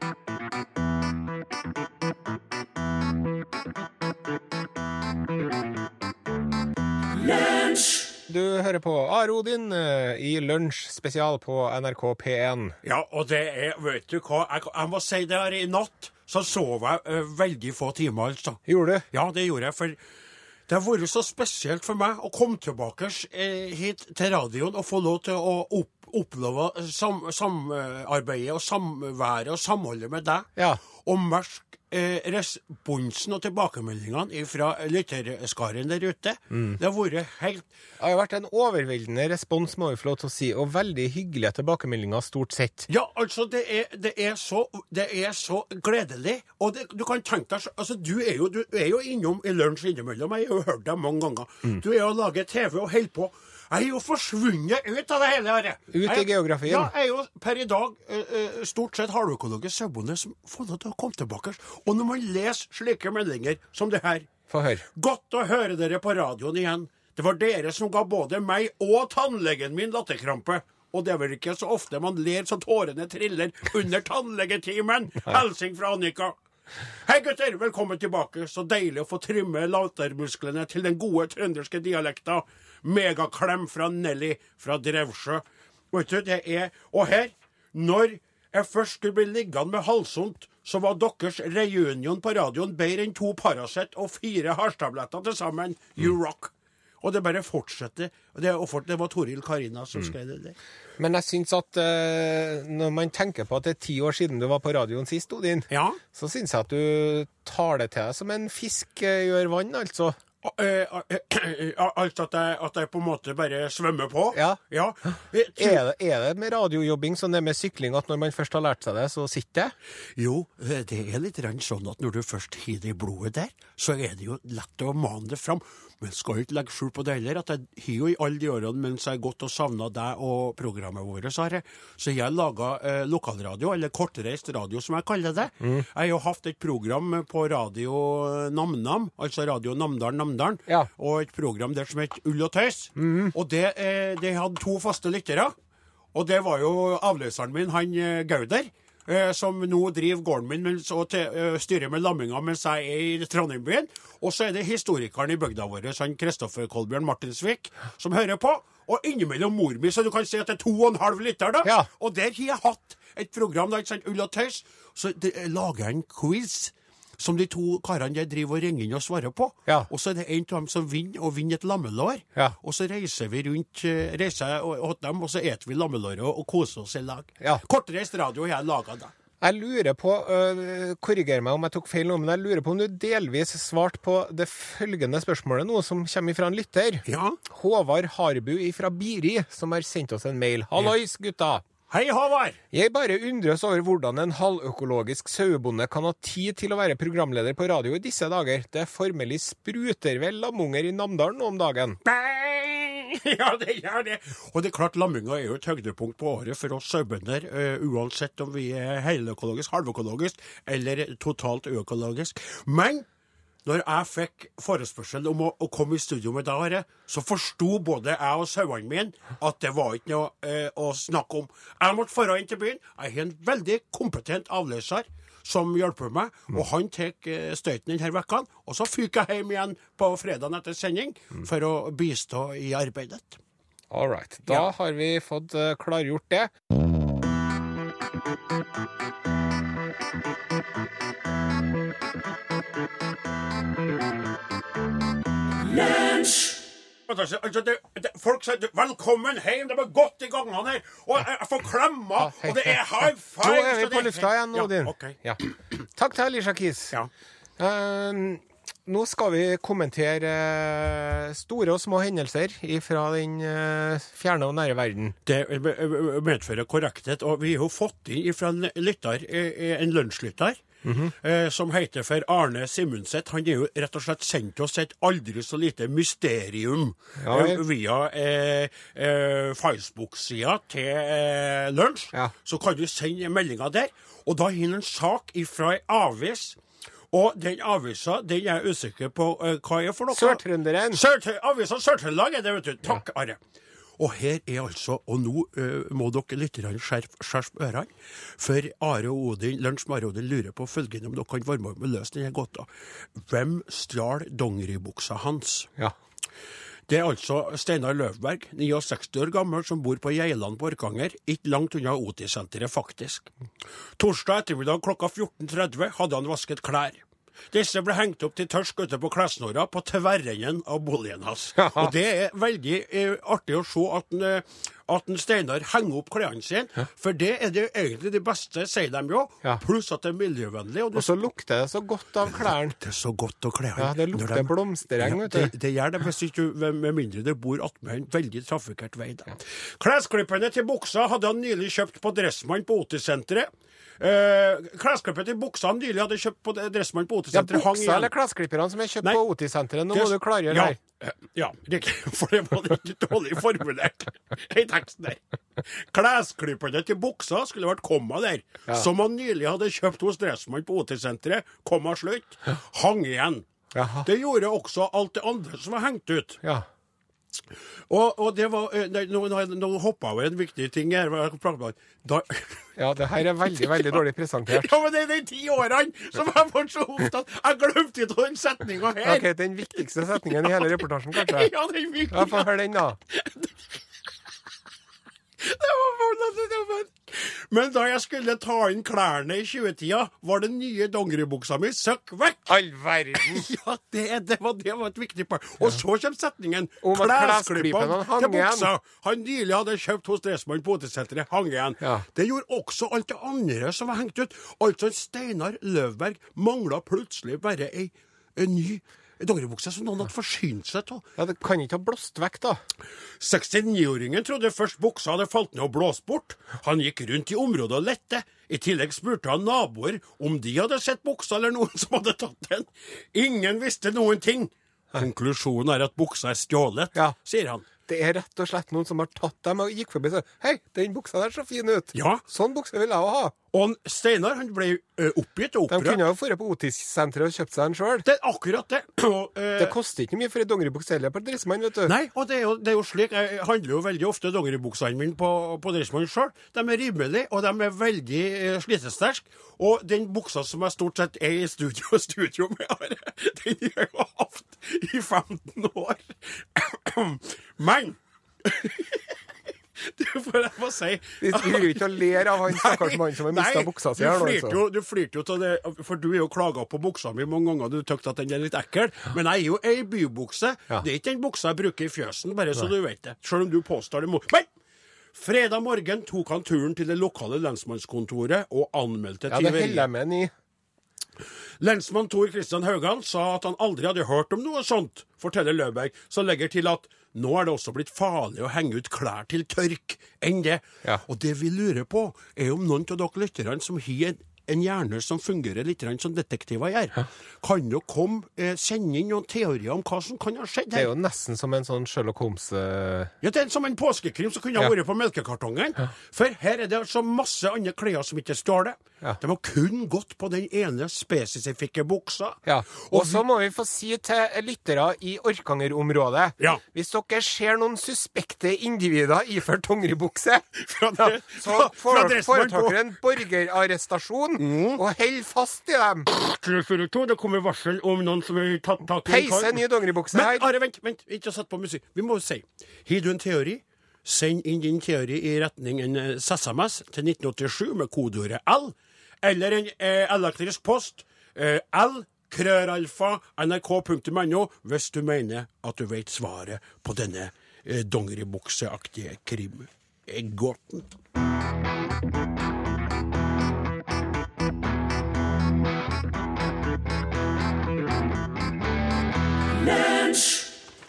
A: Du hører på Are Odin eh, i Lunsj spesial på NRK P1.
B: ja. Og det er, vet du hva, jeg, jeg må si det her, i natt så sov jeg eh, veldig få timer, altså.
A: Gjorde du?
B: Ja, det gjorde jeg, for det har vært så spesielt for meg å komme tilbake eh, hit til radioen og få lov til å opp, oppleve sam, samarbeidet og samværet og samholdet med deg.
A: Ja.
B: Og merke eh, responsen og tilbakemeldingene fra lytterskaren der ute.
A: Mm.
B: Det har vært helt
A: Det har jo vært en overveldende respons, må vi få lov til å si, og veldig hyggelige tilbakemeldinger stort sett.
B: Ja, altså, det er, det er, så, det er så gledelig. Og det, du kan tenke deg så- altså, du, er jo, du er jo innom i lunsj innimellom. Jeg har jo hørt deg mange ganger.
A: Mm.
B: Du er jo og lager TV og holder på. Jeg er jo forsvunnet ut av det hele. Her.
A: Ut i
B: Jeg-
A: geografien.
B: Ja, jeg er jo per i dag eh, eh, stort sett halvøkologisk sauebonde som får lov til å komme tilbake. Og når man leser slike meldinger som det her
A: Få høre.
B: Godt å høre dere på radioen igjen. Det var dere som ga både meg og tannlegen min latterkrampe. Og det er vel ikke så ofte man ler så tårene triller under tannlegetimen. Hilsing fra Annika. Hei, gutter. Velkommen tilbake. Så deilig å få trimme lattermusklene til den gode trønderske dialekta. Megaklem fra Nelly fra Drevsjø. Vet du, det er Og her, når jeg først skulle bli liggende med halvsondt, så var deres reunion på radioen bedre enn to Paracet og fire hasjtabletter til sammen. You rock. Og det bare fortsetter. Og Det, er offert- det var Toril Karina som skrev det. der.
A: Men jeg syns at eh, når man tenker på at det er ti år siden du var på radioen sist, Odin,
B: Ja.
A: så syns jeg at du tar det til deg som en fisk eh, gjør vann, altså.
B: Og, eh, eh, Altså at jeg, at jeg på en måte bare svømmer på?
A: Ja.
B: ja. Eh,
A: Er det, er det med radiojobbing som det er med sykling, at når man først har lært seg det, så sitter det?
B: Jo, eh, det er litt rann sånn at når du først har det i blodet der, så er det jo lett å mane det fram. Men skal ikke legge skjul på det heller, at jeg har jo i alle de årene mens jeg har gått og savna deg og programmet vårt, Are, så jeg har laga eh, lokalradio, eller kortreist radio som jeg kaller det. Jeg har jo hatt et program på radio NamNam, altså Radio Namdalen-Namdalen,
A: Ja.
B: og et program der som het Ull og tøys. Og det, eh, det hadde to faste lyttere. Og det var jo avløseren min, han eh, Gauder, eh, som nå driver gården min mens, og til, eh, styrer med lamminga mens jeg er i Trondheim-byen. Og så er det historikeren i bygda vår, han Kristoffer Kolbjørn Martinsvik, som hører på. Og innimellom mor mi, så du kan si at det er to og en halv lytter, da.
A: Ja.
B: Og der har jeg hatt et program, da, ikke sant, Ull og tøys. Så det, jeg lager jeg en quiz. Som de to karene der driver og ringer inn og svarer på.
A: Ja.
B: Og så er det en av dem som vinner, og vinner et lammelår.
A: Ja.
B: Og så reiser vi rundt eh, reiser jeg og- åt dem, og så eter vi lammelåret og, og koser oss i lag.
A: Ja.
B: Kortreist radio har jeg laga, da.
A: Jeg lurer på, øh, korriger meg om jeg tok feil nå, men jeg lurer på om du delvis svarte på det følgende spørsmålet nå, som kommer fra en lytter.
B: Ja.
A: Håvard Harbu fra Biri, som har sendt oss en mail. Hallois, gutta!
B: Hei, Håvard!
A: Jeg bare undres over hvordan en halvøkologisk sauebonde kan ha tid til å være programleder på radio i disse dager. Det formelig spruter vel lamunger i Namdalen nå om dagen.
B: Bang! Ja, det gjør det. Og det er klart, lamminga er jo et høydepunkt på året for oss sauebønder, eh, uansett om vi er heløkologisk, halvøkologisk eller totalt uøkologisk. Men når jeg fikk forespørsel om å, å komme i studio med deg, Are, så forsto både jeg og sauene mine at det var ikke noe eh, å snakke om. Jeg måtte dra inn til byen. Jeg har en veldig kompetent avløser som hjelper meg, og han tar eh, støyten denne uka. Og så fyker jeg hjem igjen på fredagen etter sending for å bistå i arbeidet.
A: All right. Da har vi fått eh, klargjort det.
B: Altså, altså, det, det, folk sier du, 'velkommen hjem', det var godt i gangene her, og jeg, jeg får klemmer, og det er high five
A: Nå er vi på lufta igjen, Odin.
B: Ja, ok.
A: Ja. Takk til Alisha Keys.
B: Ja.
A: Eh, nå skal vi kommentere eh, store og små hendelser fra den eh, fjerne og nære verden.
B: Det ø, ø, ø, medfører korrekthet. Og vi har jo fått inn fra en lytter, ø, ø, en lunsjlytter,
A: Mhm.
B: ø, som heter for Arne Simundset. Han har jo rett og slett sendt oss et aldri så lite mysterium
A: Ja,
B: ø,
A: vel.
B: via eh, eh, Facebook-sida til eh, lunsj.
A: Ja.
B: Så kan du sende meldinga der. Og da har han en sak ifra ei avis. Og den avisa den er jeg usikker på ø, hva er for noe.
A: Sør-trønderen.
B: Sør Avisa Sør-Trøndelag er det, vet du. Takk, Are. Og her er altså, og nå eh, må dere litt grann skjerp- skjerpe ørene, for Are og Odin, Lunsj med Are og Odin lurer på følgende om dere kan varme opp og løse denne gåta. Hvem stjal dongeribuksa hans?
A: Ja.
B: Det er altså Steinar Løvberg, 69 år gammel, som bor på Geiland på Orkanger, ikke langt unna OT-senteret, faktisk. Torsdag ettermiddag klokka 14.30 hadde han vasket klær. Disse ble hengt opp til tørsk ute på klessnora på tverrenden av boligen hans.
A: Ja.
B: Og det er veldig eh, artig å se at, en, eh, at en Steinar henger opp klærne sine, for det er det egentlig det beste, sier de jo.
A: Ja.
B: Pluss at det er miljøvennlig. Og
A: Og
B: det
A: så lukter det så godt av klærne.
B: det er så godt å kle
A: Ja, det lukter
B: Når de-
A: blomstereng, vet du.
B: Det, det gjør det, hvis ikke, du- med mindre du bor attmed en veldig trafikkert vei. Da. Klesklippene til buksa hadde han nylig kjøpt på Dressmann på OT-senteret. Eh, klesklippene til buksa han nylig hadde kjøpt på Dressmann på
A: Ja,
B: OT-senteret, hang
A: buksa
B: igjen.
A: eller klesklipperne som er kjøpt
B: Nei.
A: på OT-senteret. Nå må du klargjøre
B: ja.
A: her.
B: Eh, Ja, riktig, for det var litt dårlig formulert i teksten der. Klesklipperne til buksa skulle vært komma der, som han nylig hadde kjøpt hos Dressmann på OT-senteret, komma slutt, hang igjen.
A: Jaha.
B: Det gjorde også alt det andre som var hengt ut.
A: Ja.
B: Og, og det var eh, nei, Nå, nå, nå hoppa jeg over en viktig ting her. hva jeg pratet om. Da,
A: ja, det her er veldig, veldig dårlig presentert.
B: ja, men det er de ti årene som jeg var så opptatt Jeg glemte ikke den setninga her!
A: Ok, Den viktigste setningen i hele reportasjen, kanskje.
B: Ja, den
A: Ja,
B: viktige
A: Få høre den, da.
B: Det var fortsatt- det var- Men da jeg skulle ta inn klærne i 20-tida, var den nye dongeribuksa mi søkk vekk.
A: All verden!
B: Ja, det, er- det, var, det var et viktig poeng. Og så kommer setningen.
A: Om at klesklippene
B: Klesklippene
A: hang
B: til
A: igjen.
B: buksa han nylig hadde kjøpt hos Dressmann på OT-senteret, hang igjen.
A: Ja.
B: Det gjorde også alt det andre som var hengt ut. Altså, Steinar Løvberg mangla plutselig bare ei, ei ny dongeribukse som noen hadde forsynt seg av.
A: Ja, Det kan ikke ha blåst vekk, da.
B: 69-åringen trodde først buksa hadde falt ned og blåst bort. Han gikk rundt i området og lette. I tillegg spurte han naboer om de hadde sett buksa eller noen som hadde tatt den. Ingen visste noen ting. Konklusjonen er at buksa er stjålet,
A: Ja.
B: sier han.
A: Det er rett og slett noen som har tatt dem og gikk forbi og sa Hei, den buksa der så fin ut.
B: Ja.
A: Sånn bukse vil jeg òg ha.
B: Og han- Steinar han ble ø, oppgitt og
A: De kunne
B: opprørt.
A: jo dratt på OT-senteret og kjøpt seg en sjøl.
B: Det er akkurat det. Og, ø,
A: Det koster ikke mye for ei dongeribukse heller på Dressmann, vet du.
B: Nei, og det er, jo, det er jo slik. Jeg handler jo veldig ofte dongeribuksene mine på, på Dressmann sjøl. De er rimelige, og de er veldig eh, slitesterke. Og den buksa som jeg stort sett er i studio, studio med, Are, den har jeg jo hatt i 15 år. Men Det får jeg få si.
A: Vi vi driver jo ikke og ler av han stakkars mannen som har mista
B: Nei,
A: buksa si
B: du
A: her, da.
B: flirte
A: altså.
B: jo- Du flirte jo til det, for du er jo klaga på buksa mi mange ganger, du tykte at den er litt ekkel. Men jeg er jo ei bybukse.
A: Ja.
B: Det er ikke den buksa jeg bruker i fjøsen, bare så du vet det. Selv om du påstår det mot... Men! Fredag morgen tok han turen til det lokale lensmannskontoret og anmeldte
A: Ja, det holder jeg med den i.
B: Lensmann Tor Kristian Haugan sa at han aldri hadde hørt om noe sånt, forteller Løberg, som legger til at nå er det også blitt farlig å henge ut klær til tørk enn det.
A: Ja.
B: Og det vi lurer på, er om noen av dere lytterne som har en, en hjerne som fungerer litt grann som detektiver gjør, kan dere komme, eh, sende inn noen teorier om hva som kan ha skjedd
A: Det er
B: her?
A: jo nesten som en sånn Sherlock Holmes eh,
B: Ja, det er som en påskekrim som kunne ha
A: Ja.
B: vært på melkekartongen. For her er det altså masse andre klær som ikke står det.
A: Ja.
B: De har kun gått på den ene spesifikke buksa.
A: Ja.
B: Og
A: Og så må vi få si til lyttere i Orkanger-området
B: Ja.
A: Hvis dere ser noen suspekte individer iført dongeribukse,
B: Fra
A: ja,
B: det-
A: så
B: fra- fra
A: fore-
B: Dressmann
A: foretar
B: på-
A: dere en borgerarrestasjon
B: Mm.
A: og hold fast i dem.
B: Strøkfjord 2, det kommer varsel om noen som har tatt tak i en kar.
A: Peise en ny dongeribukse
B: Men
A: her.
B: Are, vent, vent, ikke sett på musikk. Vi må jo si. Har du en teori? Send inn din teori i retning en eh, SMS til 1987 med kodeordet L, eller en eh, elektrisk post eh, L, krøralfa, nrk.no, hvis du mener at du vet svaret på denne eh, dongeribukseaktige krimgåten.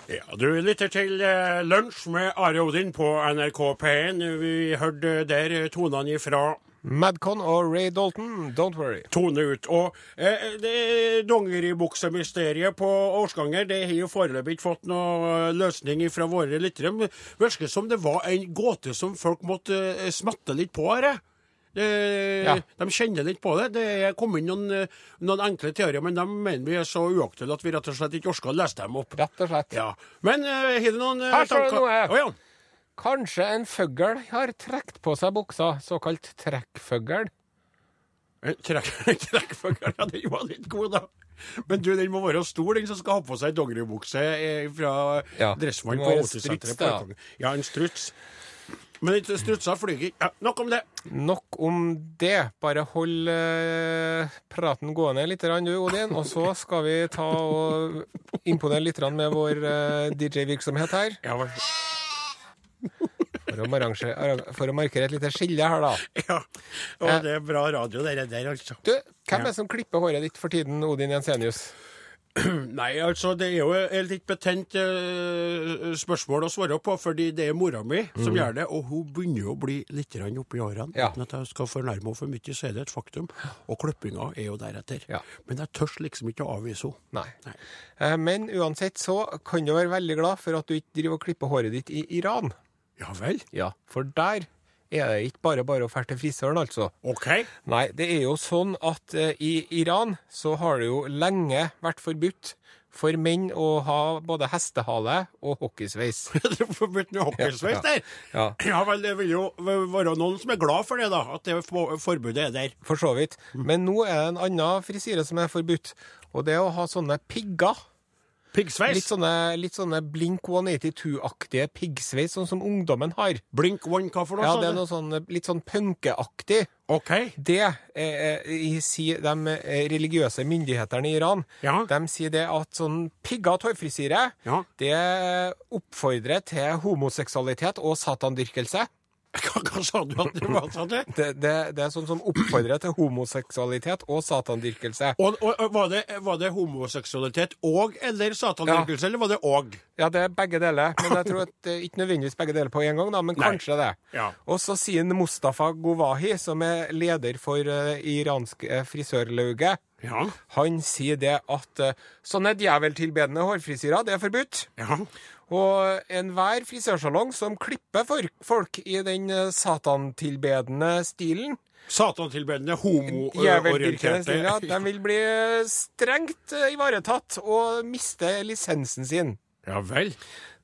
B: Ja, du lytter til eh, Lunsj med Are Odin på NRK P1. Vi hørte der eh, tonene ifra
A: Madcon og Ray Dalton, don't worry.
B: tone ut. Og eh, det dongeribuksemysteriet på Årsganger det har jo foreløpig ikke fått noe løsning fra våre lyttere. men det Virker som det var en gåte som folk måtte eh, smatte litt på. Her. eh. Eh,
A: Ja.
B: De kjenner litt på det. Det er kommet inn noen, eh, noen enkle teorier, men de mener vi er så uaktuelle at vi rett og slett ikke orker å lese dem opp.
A: Rett og slett.
B: Ja. Men eh, har du noen eh,
A: Her står det noe.
B: Å, ja.
A: Kanskje en føggel har trukket på seg buksa, såkalt trekkføggel.
B: En Eh, trekk- Trekkfugler, ja, den var litt god, da. Men du, den må være stor, den som skal ha på seg dongeribukse eh, fra
A: Ja,
B: Dressmann
A: det må
B: på
A: være en
B: Åsesenteret.
A: struts,
B: på
A: da.
B: Balkongen. Ja, en struts. Men ikke strutser flyger ikke. Ja, nok om det.
A: Nok om det. Bare hold eh, praten gående litt, grann, du, Odin. Og så skal vi ta og imponere litt grann med vår eh, DJ-virksomhet her.
B: Ja, vel.
A: For å, arrange, for å markere et lite skille her, da.
B: ja. Og
A: Eh,
B: det er bra radio, det der, altså.
A: Du, hvem er det som klipper håret ditt for tiden, Odin Jensenius?
B: Nei, altså, det er jo et litt betent eh, spørsmål å svare på, fordi det er mora mi som gjør det, og hun begynner jo å bli litt grann oppi årene.
A: Mm. Ja.
B: Uten at jeg skal fornærme henne for mye, så er det et faktum. Og klippinga er jo deretter.
A: Ja.
B: Men jeg tør liksom ikke å avvise henne.
A: Nei.
B: Nei.
A: Eh, Men uansett så kan du være veldig glad for at du ikke driver og klipper håret ditt i Iran.
B: Ja vel?
A: Ja. For der er det ikke bare bare å fære til frisøren, altså.
B: OK.
A: Nei, det er jo sånn at eh, i Iran så har det jo lenge vært forbudt for menn å ha både hestehale og hockeysveis.
B: Du får bytte med hockeysveis der.
A: Ja.
B: ja vel, det vil jo være noen som er glad for det, da. At det for- forbudet er der.
A: For så vidt. Men nå er det en annen frisyre som er forbudt, og det er å ha sånne pigger. Litt sånn-
B: Piggsveis.
A: sånne, litt sånne Blink 182-aktige piggsveis, sånn som ungdommen har.
B: Blink one, hva for noe?
A: Ja,
B: sa
A: det
B: du?
A: er noe sånn eh, litt sånn punkeaktig.
B: OK.
A: Det eh, eh, sier de eh, religiøse myndighetene i Iran.
B: Ja.
A: De sier det at sånn piggete hårfrisyre
B: Ja.
A: det oppfordrer til homoseksualitet og satandyrkelse.
B: Hva, hva sa du at det var? sa du?
A: Det, det, det er sånn som oppfordrer til homoseksualitet og satandyrkelse.
B: Og, og, og var, det, var det homoseksualitet og eller satandyrkelse, eller var det og?
A: Ja, det er begge deler. Men jeg tror at det er ikke nødvendigvis begge deler på en gang, da, men
B: Nei.
A: kanskje det.
B: Ja.
A: Og så sier Mustafa Govahi, som er leder for eh, iransk eh, frisørlauget,
B: Ja.
A: han sier det at eh, sånne djeveltilbedende hårfrisyrer, det er forbudt.
B: Ja.
A: Og enhver frisørsalong som klipper for- folk i den eh, satantilbedende stilen,
B: Satantilbedende,
A: djeveldyrkende
B: homoorienterte
A: stilen, ja, de vil bli eh, strengt eh, ivaretatt og miste lisensen sin.
B: Ja vel.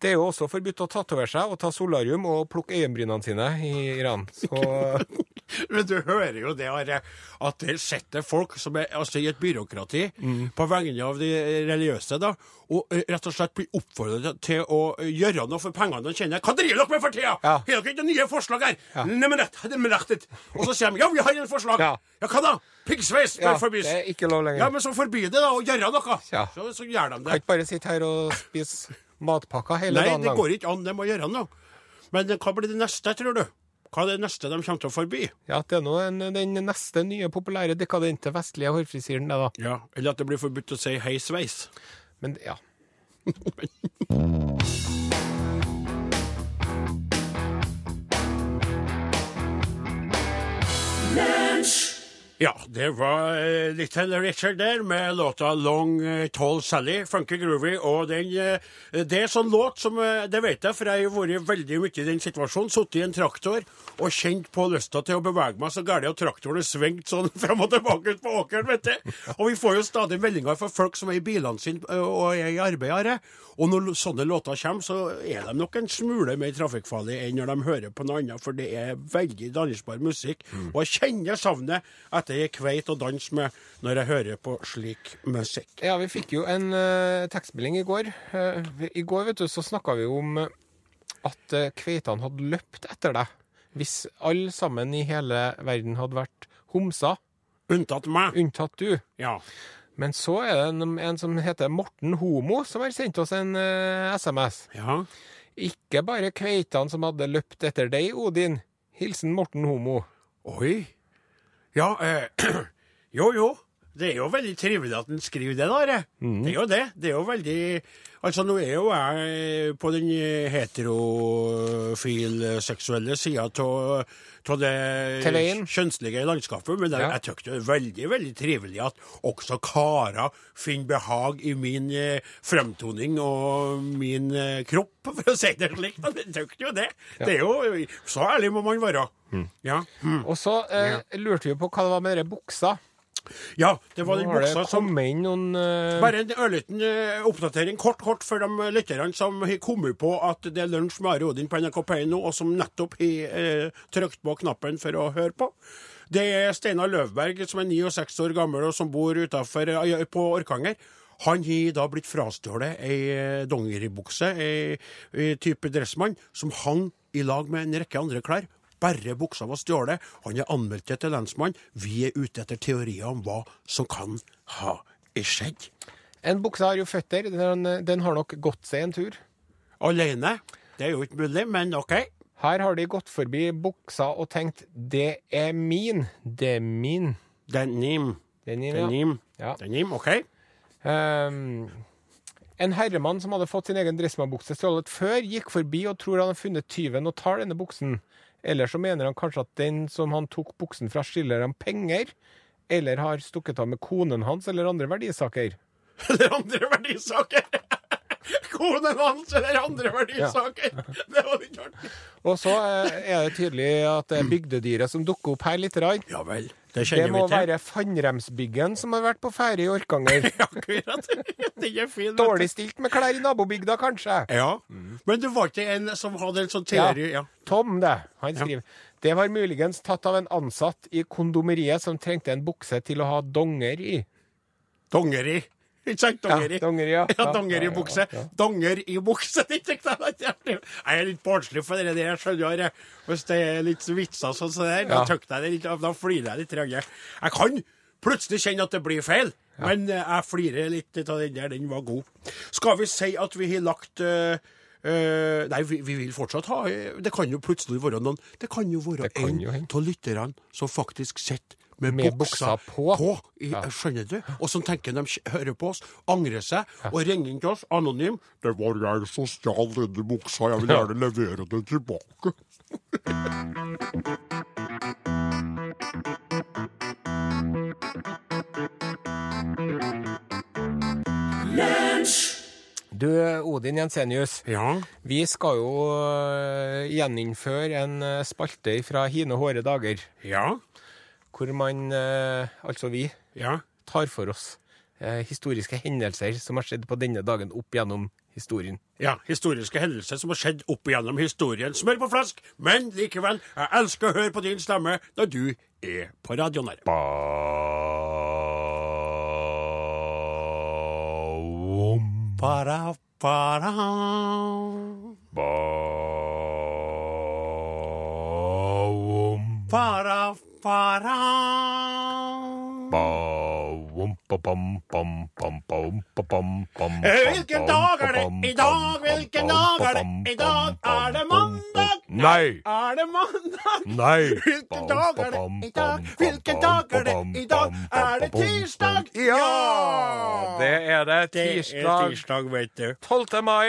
A: Det er jo også forbudt å tatovere seg og ta solarium og plukke øyenbrynene sine i Iran. Så
B: Men du hører jo det Are, at der sitter folk som er altså, i et byråkrati
A: Mm.
B: på vegne av de religiøse, da, og eh, rett og slett blir oppfordret til å eh, gjøre noe for pengene de tjener. Hva driver dere med for tida?!
A: Ja.
B: Har dere ikke nye forslag her?! Nei, men rett, det er men rettet. Og så sier de ja, vi har et forslag!
A: Ja.
B: Ja, hva da? Piggsveis bør
A: ja, det
B: forbys!
A: er ikke lov lenger.
B: Ja, men så forby det, da, og gjøre noe!
A: Ja.
B: Så, så gjør de
A: Kan
B: det.
A: ikke bare sitte her og spise matpakker hele
B: Nei,
A: dagen
B: det
A: lang.
B: går ikke an, de må gjøre noe. Men eh, hva blir det neste, tror du? Hva er det neste de kommer til å forby?
A: Ja, det er nå en, den neste nye populære dekadente vestlige hårfrisyren, det, da.
B: Ja, Eller at det blir forbudt å si hei, sveis.
A: Men ja.
B: Ja, det var eh, Little Richard der med låta Long eh, Tall Sally, Funky Groovy. Og den, eh, det er sånn låt som eh, Det vet jeg, for jeg har vært veldig mye i den situasjonen. Sittet i en traktor og kjent på lysta til å bevege meg så gærent, og traktoren er svingt sånn fram og tilbake ut på åkeren, vet du. Og vi får jo stadig meldinger fra folk som er i bilene sine eh, og er i arbeid. Are. Og når lo- sånne låter kommer, så er de nok en smule mer trafikkfarlige enn når de hører på noe annet, for det er veldig dansbar musikk. Og jeg kjenner savnet etter jeg kveit og dans med når jeg hører på slik musikk.
A: ja, vi fikk jo en eh, tekstmelding i går. Eh, vi- I går, vet du, så snakka vi om eh, at eh, kveitene hadde løpt etter deg. Hvis alle sammen i hele verden hadde vært homser,
B: Unntatt meg.
A: unntatt du.
B: Ja.
A: Men så er det en, en som heter Morten Homo, som har sendt oss en eh, SMS.
B: ja.
A: Ikke bare kveitene som hadde løpt etter deg, Odin. Hilsen Morten Homo.
B: Oi. Ja, eh, jo jo. Det er jo veldig trivelig at han skriver det, da. Are.
A: Mhm.
B: Det er jo det. Det er jo veldig Altså, nå er jo jeg eh, på den heterofil-seksuelle sida av det
A: Til veien.
B: kjønnslige landskapet, men jeg,
A: Ja.
B: jeg tykker det er veldig, veldig trivelig at også karer finner behag i min eh, fremtoning og min eh, kropp, for å si det slik. da. Jeg tykker jo det. Det er jo Så ærlig må man være. Ja. Mm.
A: Og så eh, lurte vi jo på hva det var med dere buksa.
B: Ja, det var
A: Nå
B: den
A: har det
B: buksa som
A: kommet inn noen eh,
B: Bare en ørliten eh, oppdatering, kort kort, for de lytterne som har kommet på at det er lunsj med Are Odin på NRK P1 nå, og som nettopp har eh, trykt på knappen for å høre på. Det er Steinar Løvberg, som er 69 år gammel og som bor utenfor, eh, på Orkanger. Han har da blitt frastjålet ei eh, dongeribukse, ei, ei type dressmann, som han i lag med en rekke andre klær. Bare buksa var stjålet. Han er anmeldt det til lensmannen. Vi er ute etter teorier om hva som kan ha skjedd.
A: En bukse har jo føtter. Den, eh, den har nok gått seg en tur.
B: Alene? Det er jo ikke mulig, men OK.
A: Her har de gått forbi buksa og tenkt 'det er min', 'det er min'.
B: Denim.
A: Denim, ja.
B: Denim.
A: Ja.
B: Denim, OK.
A: Ehm, en herremann som hadde fått sin egen dressmann-bukse stjålet før, gikk forbi og tror han har funnet tyven og tar denne buksen. Eller så mener han kanskje at den som han tok buksen fra, skylder ham penger, eller har stukket av med konen hans eller andre verdisaker.
B: eller andre verdisaker. Konen hans eller andre verdisaker. Det var litt artig.
A: Og så eh, er det tydelig at det er bygdedyret som dukker opp her litt. Rann.
B: Ja vel. Det
A: Det
B: kjenner
A: må
B: vi til.
A: være Fannremsbyggen som har vært på ferde i Orkanger.
B: Akkurat. Den er fin. vet du.
A: Dårlig Mm. stilt med klær i nabobygda, kanskje.
B: Ja. Men det var ikke en som hadde en sånn teori ja.
A: Tom, det. Han skriver. Det var muligens tatt av en ansatt i kondomeriet som trengte en bukse til å ha donger i.
B: Dongeri. Ikke sant? Dongeri.
A: Ja, dongeri, ja.
B: ja,
A: Ja,
B: dongeri
A: ja, ja,
B: i bukse.
A: ja.
B: Donger i bukse! det tenkte Jeg at jeg ble- Jeg er litt barnslig for det der, jeg skjønner jeg. Hvis det er litt vitser sånn som det der, da
A: Ja.
B: tøkte jeg det litt av. Da flirer jeg litt. grann. Jeg kan plutselig kjenne at det blir feil, men eh, jeg flirer litt av den der. Den var god. Skal vi si at vi har lagt eh, eh, nei, vi, vi vil fortsatt ha eh, Det kan jo plutselig være noen Det kan jo være
A: Det kan
B: en
A: jo hende.
B: av lytterne som faktisk sitter med,
A: Med buksa på.
B: på i, Skjønner du? Og som tenker de kj- hører på oss, angrer seg og ringer inn til oss anonym. 'Det var jeg som stjal denne buksa. Jeg vil gjerne levere den tilbake.'
A: Du, Odin Jensenius.
B: Ja.
A: Vi skal jo øh, gjeninnføre en øh, spalte fra hine hårde dager,
B: Ja.
A: hvor man, øh, altså vi,
B: Ja.
A: tar for oss øh, historiske hendelser som har skjedd på denne dagen opp gjennom historien.
B: Ja, historiske hendelser som har skjedd opp igjennom historien. Smør på flask, men likevel, jeg elsker å høre på din stemme når du er på radioen her. Para, para. Para, para.
A: Eh.
D: Hvilken dag er det i dag? Hvilken dag er det i dag? Er det mandag?
B: Nei!
D: Er det mandag?
B: Nei!
D: Hvilken dag er det i dag? Hvilken dag er det i dag? Er det tirsdag?
B: Ja!
A: Det er det.
B: Det er
A: Tirsdag
B: tirsdag, vet du.
A: 12. mai.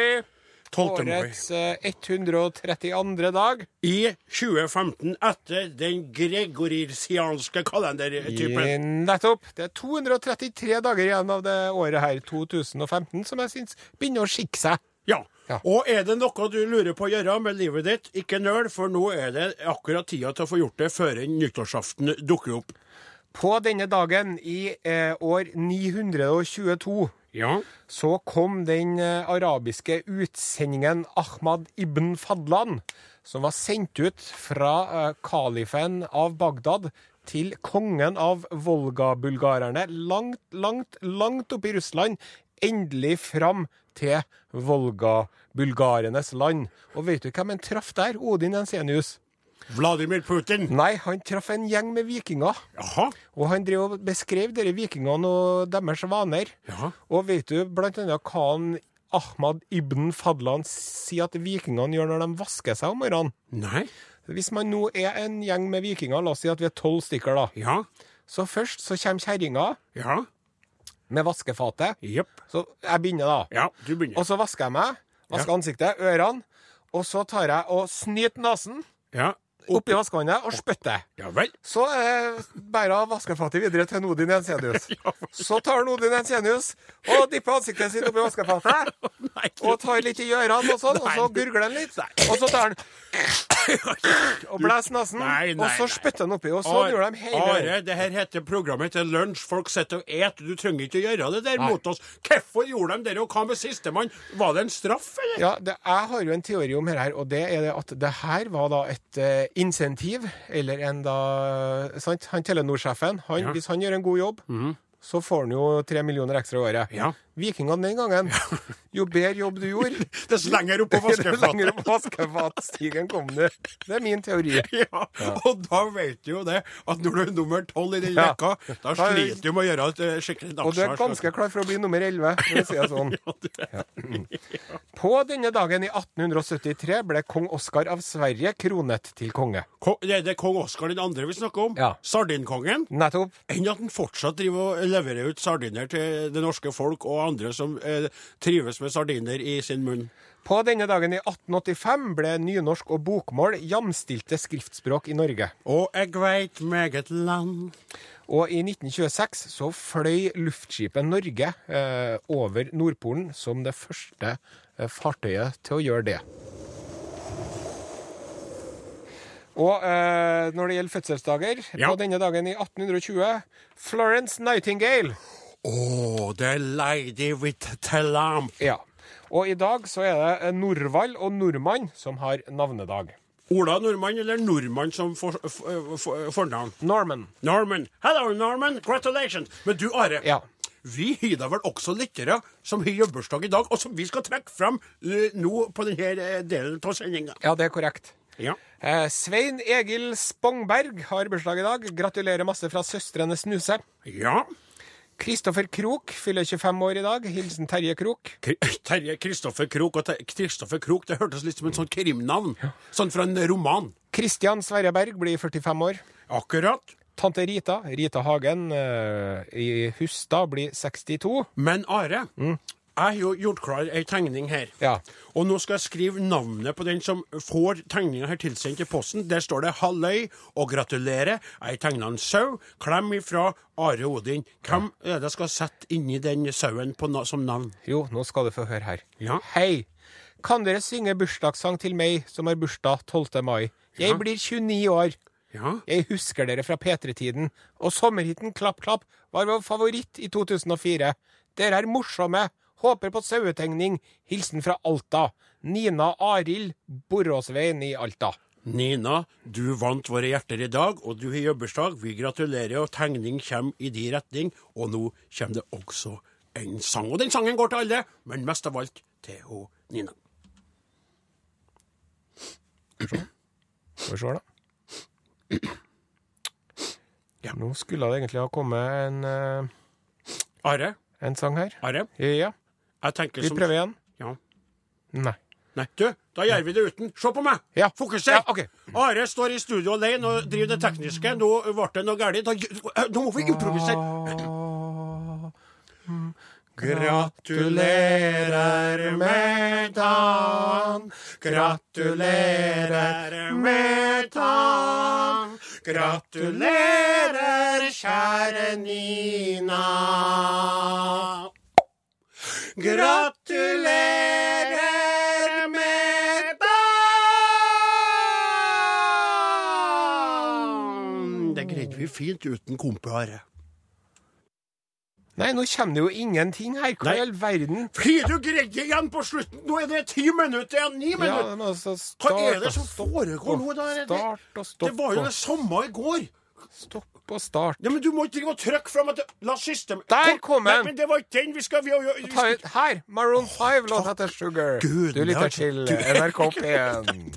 B: 12. mai.
A: Årets øh, 132. dag.
B: I 2015, etter den gregorisianske
A: I-
B: kalendertypen.
A: Eh, Nettopp. Det er 233 dager igjen av det året her, 2015, som jeg syns begynner å skikke seg.
B: Ja.
A: Ja.
B: Og er det noe du lurer på å gjøre med livet ditt, ikke nøl, for nå er det akkurat tida til å få gjort det før en nyttårsaften dukker opp.
A: På denne dagen i eh, år 922
B: Ja.
A: så kom den eh, arabiske utsendingen Ahmad ibn Fadlan, som var sendt ut fra eh, kalifen av Bagdad til kongen av Volga-bulgarerne, langt, langt, langt oppe i Russland, endelig fram til Volga-bulgarenes land. Og vet du hvem han traff der? Odin Jensenius.
B: Vladimir Putin.
A: Nei, han traff en gjeng med vikinger.
B: Jaha.
A: Og han drev og beskrev dere vikingene og deres vaner.
B: Ja.
A: Og vet du blant annet hva han Ahmad ibn Fadlan sier at vikingene gjør når de vasker seg om morgenen?
B: Nei.
A: Hvis man nå er en gjeng med vikinger, la oss si at vi er tolv stykker, da.
B: Ja.
A: Så først så kommer kjerringa
B: Ja.
A: med vaskefatet.
B: Jepp.
A: Så jeg begynner, da.
B: Ja, du begynner.
A: Og så vasker jeg meg. Vasker ansiktet, ørene. Og så tar jeg og snyter nesen
B: Ja.
A: oppi vaskevannet og spytter.
B: Ja vel.
A: Så eh, bærer han vaskefatet videre til en Odin Jensenius. Så tar han Odin Jensenius og dipper ansiktet sitt oppi vaskefatet.
B: Nei,
A: Og tar litt i ørene og sånn, og så gurgler han litt. Og så tar han og blåser nesen,
B: Nei, nei,
A: og så
B: nei.
A: spytter han oppi. Og sånn gjør de hele
B: Are, det her heter programmet til lunsj. Folk sitter og et. Du trenger ikke å gjøre det der
A: Nei.
B: mot oss. Hvorfor gjorde de det, og hva med sistemann? Var det en straff, eller?
A: Ja, det, jeg har jo en teori om dette, her, og det er det at det her var da et eh, insentiv, eller en da sant? Han Telenor-sjefen, han, hvis han gjør en god jobb, så får han jo tre millioner ekstra i året.
B: Mhm. Ja.
A: vikingene den gangen. Jo bedre jobb du gjorde,
B: Dess lenger opp på
A: jo lenger
B: vaskefatet.
A: opp vaskefatstigen kom du. Det er min teori.
B: Ja, og da vet du jo det, at når du er nummer tolv i den
A: Ja.
B: rekka, da
A: Da er-
B: sliter du med å gjøre et eh, skikkelig
A: Og du er
B: dagsvars.
A: ganske klar for å bli nummer 11, for å si det sånn. Ja. På denne dagen i 1873 ble kong Oskar av Sverige kronet til konge.
B: Ko- Det det er kong Oskar den andre vi snakker om.
A: Ja.
B: Sardinkongen.
A: Nettopp.
B: Enn at han fortsatt driver og leverer ut sardiner til det norske folk og andre som eh, trives med sardiner i sin munn.
A: På denne dagen i 1885 ble nynorsk og bokmål jamstilte skriftspråk i Norge.
B: Og jeg veit meget land
A: Og i 1926 så fløy luftskipet Norge eh, over Nordpolen som det første eh, fartøyet til å gjøre det. Og eh, når det gjelder fødselsdager,
B: Ja.
A: på denne dagen i 1820 Florence Nightingale.
B: Oh, the lady with the lamp.
A: Ja. Og i dag så er det eh, Norvald og Nordmann som har navnedag.
B: Ola Nordmann eller Nordmann som for, for, for, fornavn?
A: Norman.
B: Norman. Hello, Norman. Congratulations. Men du, Are.
A: Ja.
B: Vi har da vel også lyttere som har jubileumsdag i dag, og som vi skal trekke fram eh, nå på denne delen av sendinga.
A: Ja, det er korrekt.
B: Ja.
A: Eh, Svein Egil Spongberg har bursdag i dag. Gratulerer masse fra Søstrene Snuse.
B: ja.
A: Kristoffer Krok fyller 25 år i dag. Hilsen Terje Krok.
B: Kri- Terje Kristoffer Krok. Og Ter Kristoffer Krok, det hørtes litt som en sånn krimnavn. Sånn fra en roman.
A: Kristian Sverre Berg blir 45 år.
B: Akkurat.
A: Tante Rita, Rita Hagen eh, i Hustad, blir 62.
B: Men Are, jeg har jo gjort klar ei tegning her.
A: Ja.
B: Og nå skal jeg skrive navnet på den som får tegninga her tilsendt i posten. Der står det 'Halløy' og 'Gratulerer'. Jeg tegna en sau. Klem ifra Are Odin. Hvem er det jeg skal sette inni den sauen på na som navn?
A: Jo, nå skal du få høre her.
B: Ja.
A: Hei! Kan dere synge bursdagssang til meg som har bursdag 12. mai? Jeg blir 29 år.
B: Ja.
A: Jeg husker dere fra P3-tiden, og sommerhiten Klapp Klapp var vår favoritt i 2004. Dere er morsomme! Håper på sauetegning. Hilsen fra Alta. Nina Arild Boråsveien i Alta.
B: Nina, du vant våre hjerter i dag, og du har jobbursdag. Vi gratulerer, og tegning kommer i din retning. Og nå kommer det også en sang. Og den sangen går til alle, men mest av alt til hun Nina.
A: Skal vi se, da.
B: Ja.
A: Nå skulle det egentlig ha kommet en, eh,
B: Are,
A: en sang her.
B: Are,
A: Ja,
B: jeg tenker
A: vi
B: som
A: prøver igjen.
B: Ja.
A: Nei.
B: Nei, du, da gjør vi det uten. Se på meg!
A: Ja.
B: Fokuser!
A: Ja, ok.
B: Are står i studio alene og driver det tekniske. Nå ble det noe galt. Da gj- Nå må vi improvisere. Gratulerer med dagen. Gratulerer med dagen. Gratulerer, kjære Nina. Gratulerer med dagen! Det greide vi fint uten kompare.
A: Nei, nå kommer det jo ingenting her. Hva
B: Nei.
A: i all verden?
B: Fordi du greide igjen på slutten! Nå er det ti minutter igjen! Ni
A: Ja,
B: minutter!
A: men altså,
B: Hva
A: start
B: er det
A: og
B: som
A: stopp
B: foregår nå?
A: og
B: Da? Det,
A: Start og stopp
B: det var jo
A: og
B: det samme i går!
A: stopp og start.
B: Ja, men Du må ikke drive og trykke fram at det- La siste
A: Der kom
B: Nei,
A: den!
B: Men det var ikke den vi skal vi, vi, vi,
A: Ta ut her! Maroon 5 låt heter Sugar.
B: Gud,
A: du lytter
B: Lars.
A: til
B: Du-
A: NRK P1.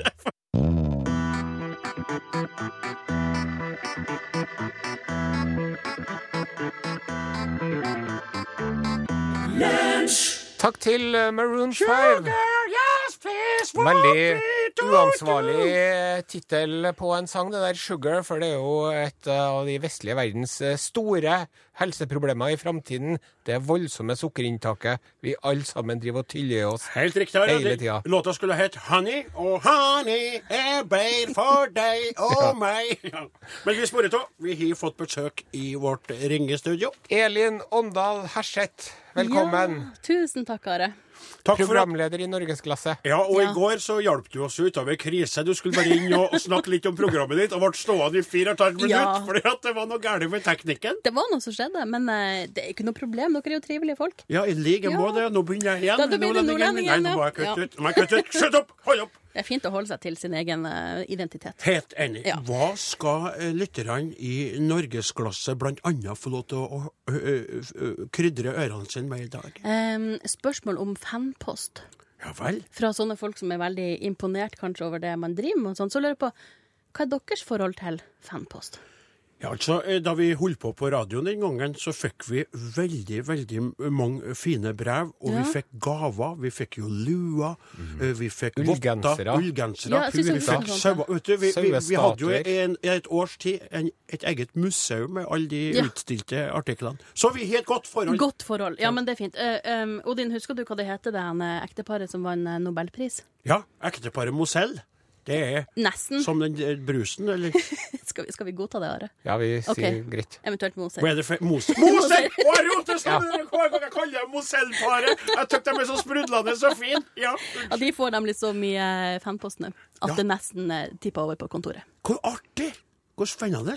A: Takk til eh, Maroon 5. Veldig uansvarlig tittel på en sang, det der 'Sugar', for det er jo et eh, av de vestlige verdens eh, store helseproblemer i framtiden. Det voldsomme sukkerinntaket vi alle sammen driver og tyller i oss.
B: Helt riktig. Harald.
A: Hele tida.
B: Låta skulle hett Honey, og Honey er bedre for deg og meg. Ja. Men vi sporer av. Vi har fått besøk i vårt ringestudio.
A: Elin Åndal Herseth, velkommen.
E: Ja, tusen takk, Are.
B: Takk for at
A: Programleder i Norgesklasse.
B: ja, og
E: Ja.
B: I går så hjalp du oss ut av ei krise. Du skulle bare inn og og snakke litt om programmet ditt, og ble stående i fire og et halvt minutt
E: Ja.
B: fordi at det var noe galt med teknikken.
E: Det var noe som skjedde, men eh, det er ikke noe problem. Dere er jo trivelige folk.
B: Ja, i like
E: Ja.
B: måte. Nå begynner jeg igjen.
E: Da- da blir du
B: Nei,
E: nordlending igjen,
B: nå må jeg
E: ja.
B: kutte ut. Nå må jeg kutte ut. Slutt opp! Hold opp!
E: Det er fint å holde seg til sin egen eh, identitet.
B: Helt enig.
E: Ja.
B: Hva skal eh, lytterne i norgesklasse bl.a. få lov til å, å, ø, ø, ø, krydre ørene sine med i dag?
E: Em, Ehm, spørsmål om fanpost.
B: Ja vel?
E: Fra sånne folk som er veldig imponert kanskje over det man driver med, og sånn, så lurer jeg på hva er deres forhold til fanpost?
B: Ja, altså, eh, Da vi holdt på på radioen den gangen, så fikk vi veldig veldig mange fine brev. Og
E: Ja.
B: vi fikk gaver. Vi fikk jo lua, eh, vi fikk
A: Mhm. Ullgensere.
B: votter, ullgensere,
E: Ja, jeg synes
B: puer, vi
E: også det
B: fikk
E: var sånn, ja.
B: sauer. Vet du, vi, vi, vi hadde jo
A: Sauestatuer.
B: en, i et års tid en, et eget museum med alle de
E: Ja.
B: utstilte artiklene. Så vi har et godt forhold.
E: Godt forhold. Ja, men det er fint. Eh, em, Odin, husker du hva det heter, det han, eh, ekteparet som vant eh, Nobelpris?
B: Ja, ekteparet Mosell. Det er
E: Nesten.
B: som den eh, brusen, eller
E: Skal vi, skal vi godta det, Are?
A: Ja, vi sier
E: Ok.
A: greit.
E: Eventuelt Mose.
B: Hva er det for Mose? Mose! Å, jeg roter sånn! Hver gang jeg kaller dem Mosell-paret. Jeg syns de er så sprudlende så fine. Ja.
E: Ja, de får nemlig så mye eh, fanpost nå at
B: Ja.
E: det nesten eh, tipper over på kontoret.
B: Hvor artig! Hvor spennende!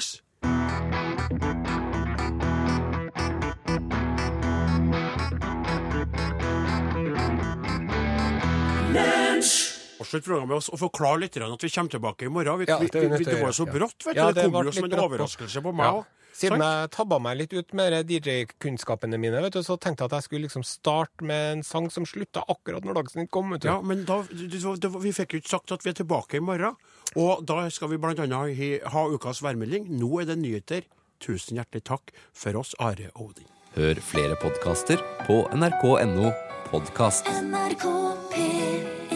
B: Avslutt programmet med oss og forklare litt grann at vi kommer tilbake i morgen. Vi,
A: Ja,
B: vi,
A: det er vi
B: vi,
A: nødt til å
B: det var
A: gjøre,
B: jo så
A: ja.
B: brått, vet du.
A: Ja,
B: det kom
A: ble
B: jo
A: litt
B: som en
A: brått nå.
B: overraskelse på meg
A: Ja.
B: òg.
A: Siden jeg tabba meg litt ut med de DJ-kunnskapene mine, vet du, så tenkte jeg at jeg skulle liksom starte med en sang som slutta akkurat når Dagsnytt kom. Vet du.
B: Ja, men da, det var- det var- vi fikk jo ikke sagt at vi er tilbake i morgen. Og da skal vi blant annet hi- ha ukas værmelding. Nå er det nyheter. Tusen hjertelig takk for oss, Are og Odin.
F: Hør flere podkaster på nrk.no podkast.
G: NRK P1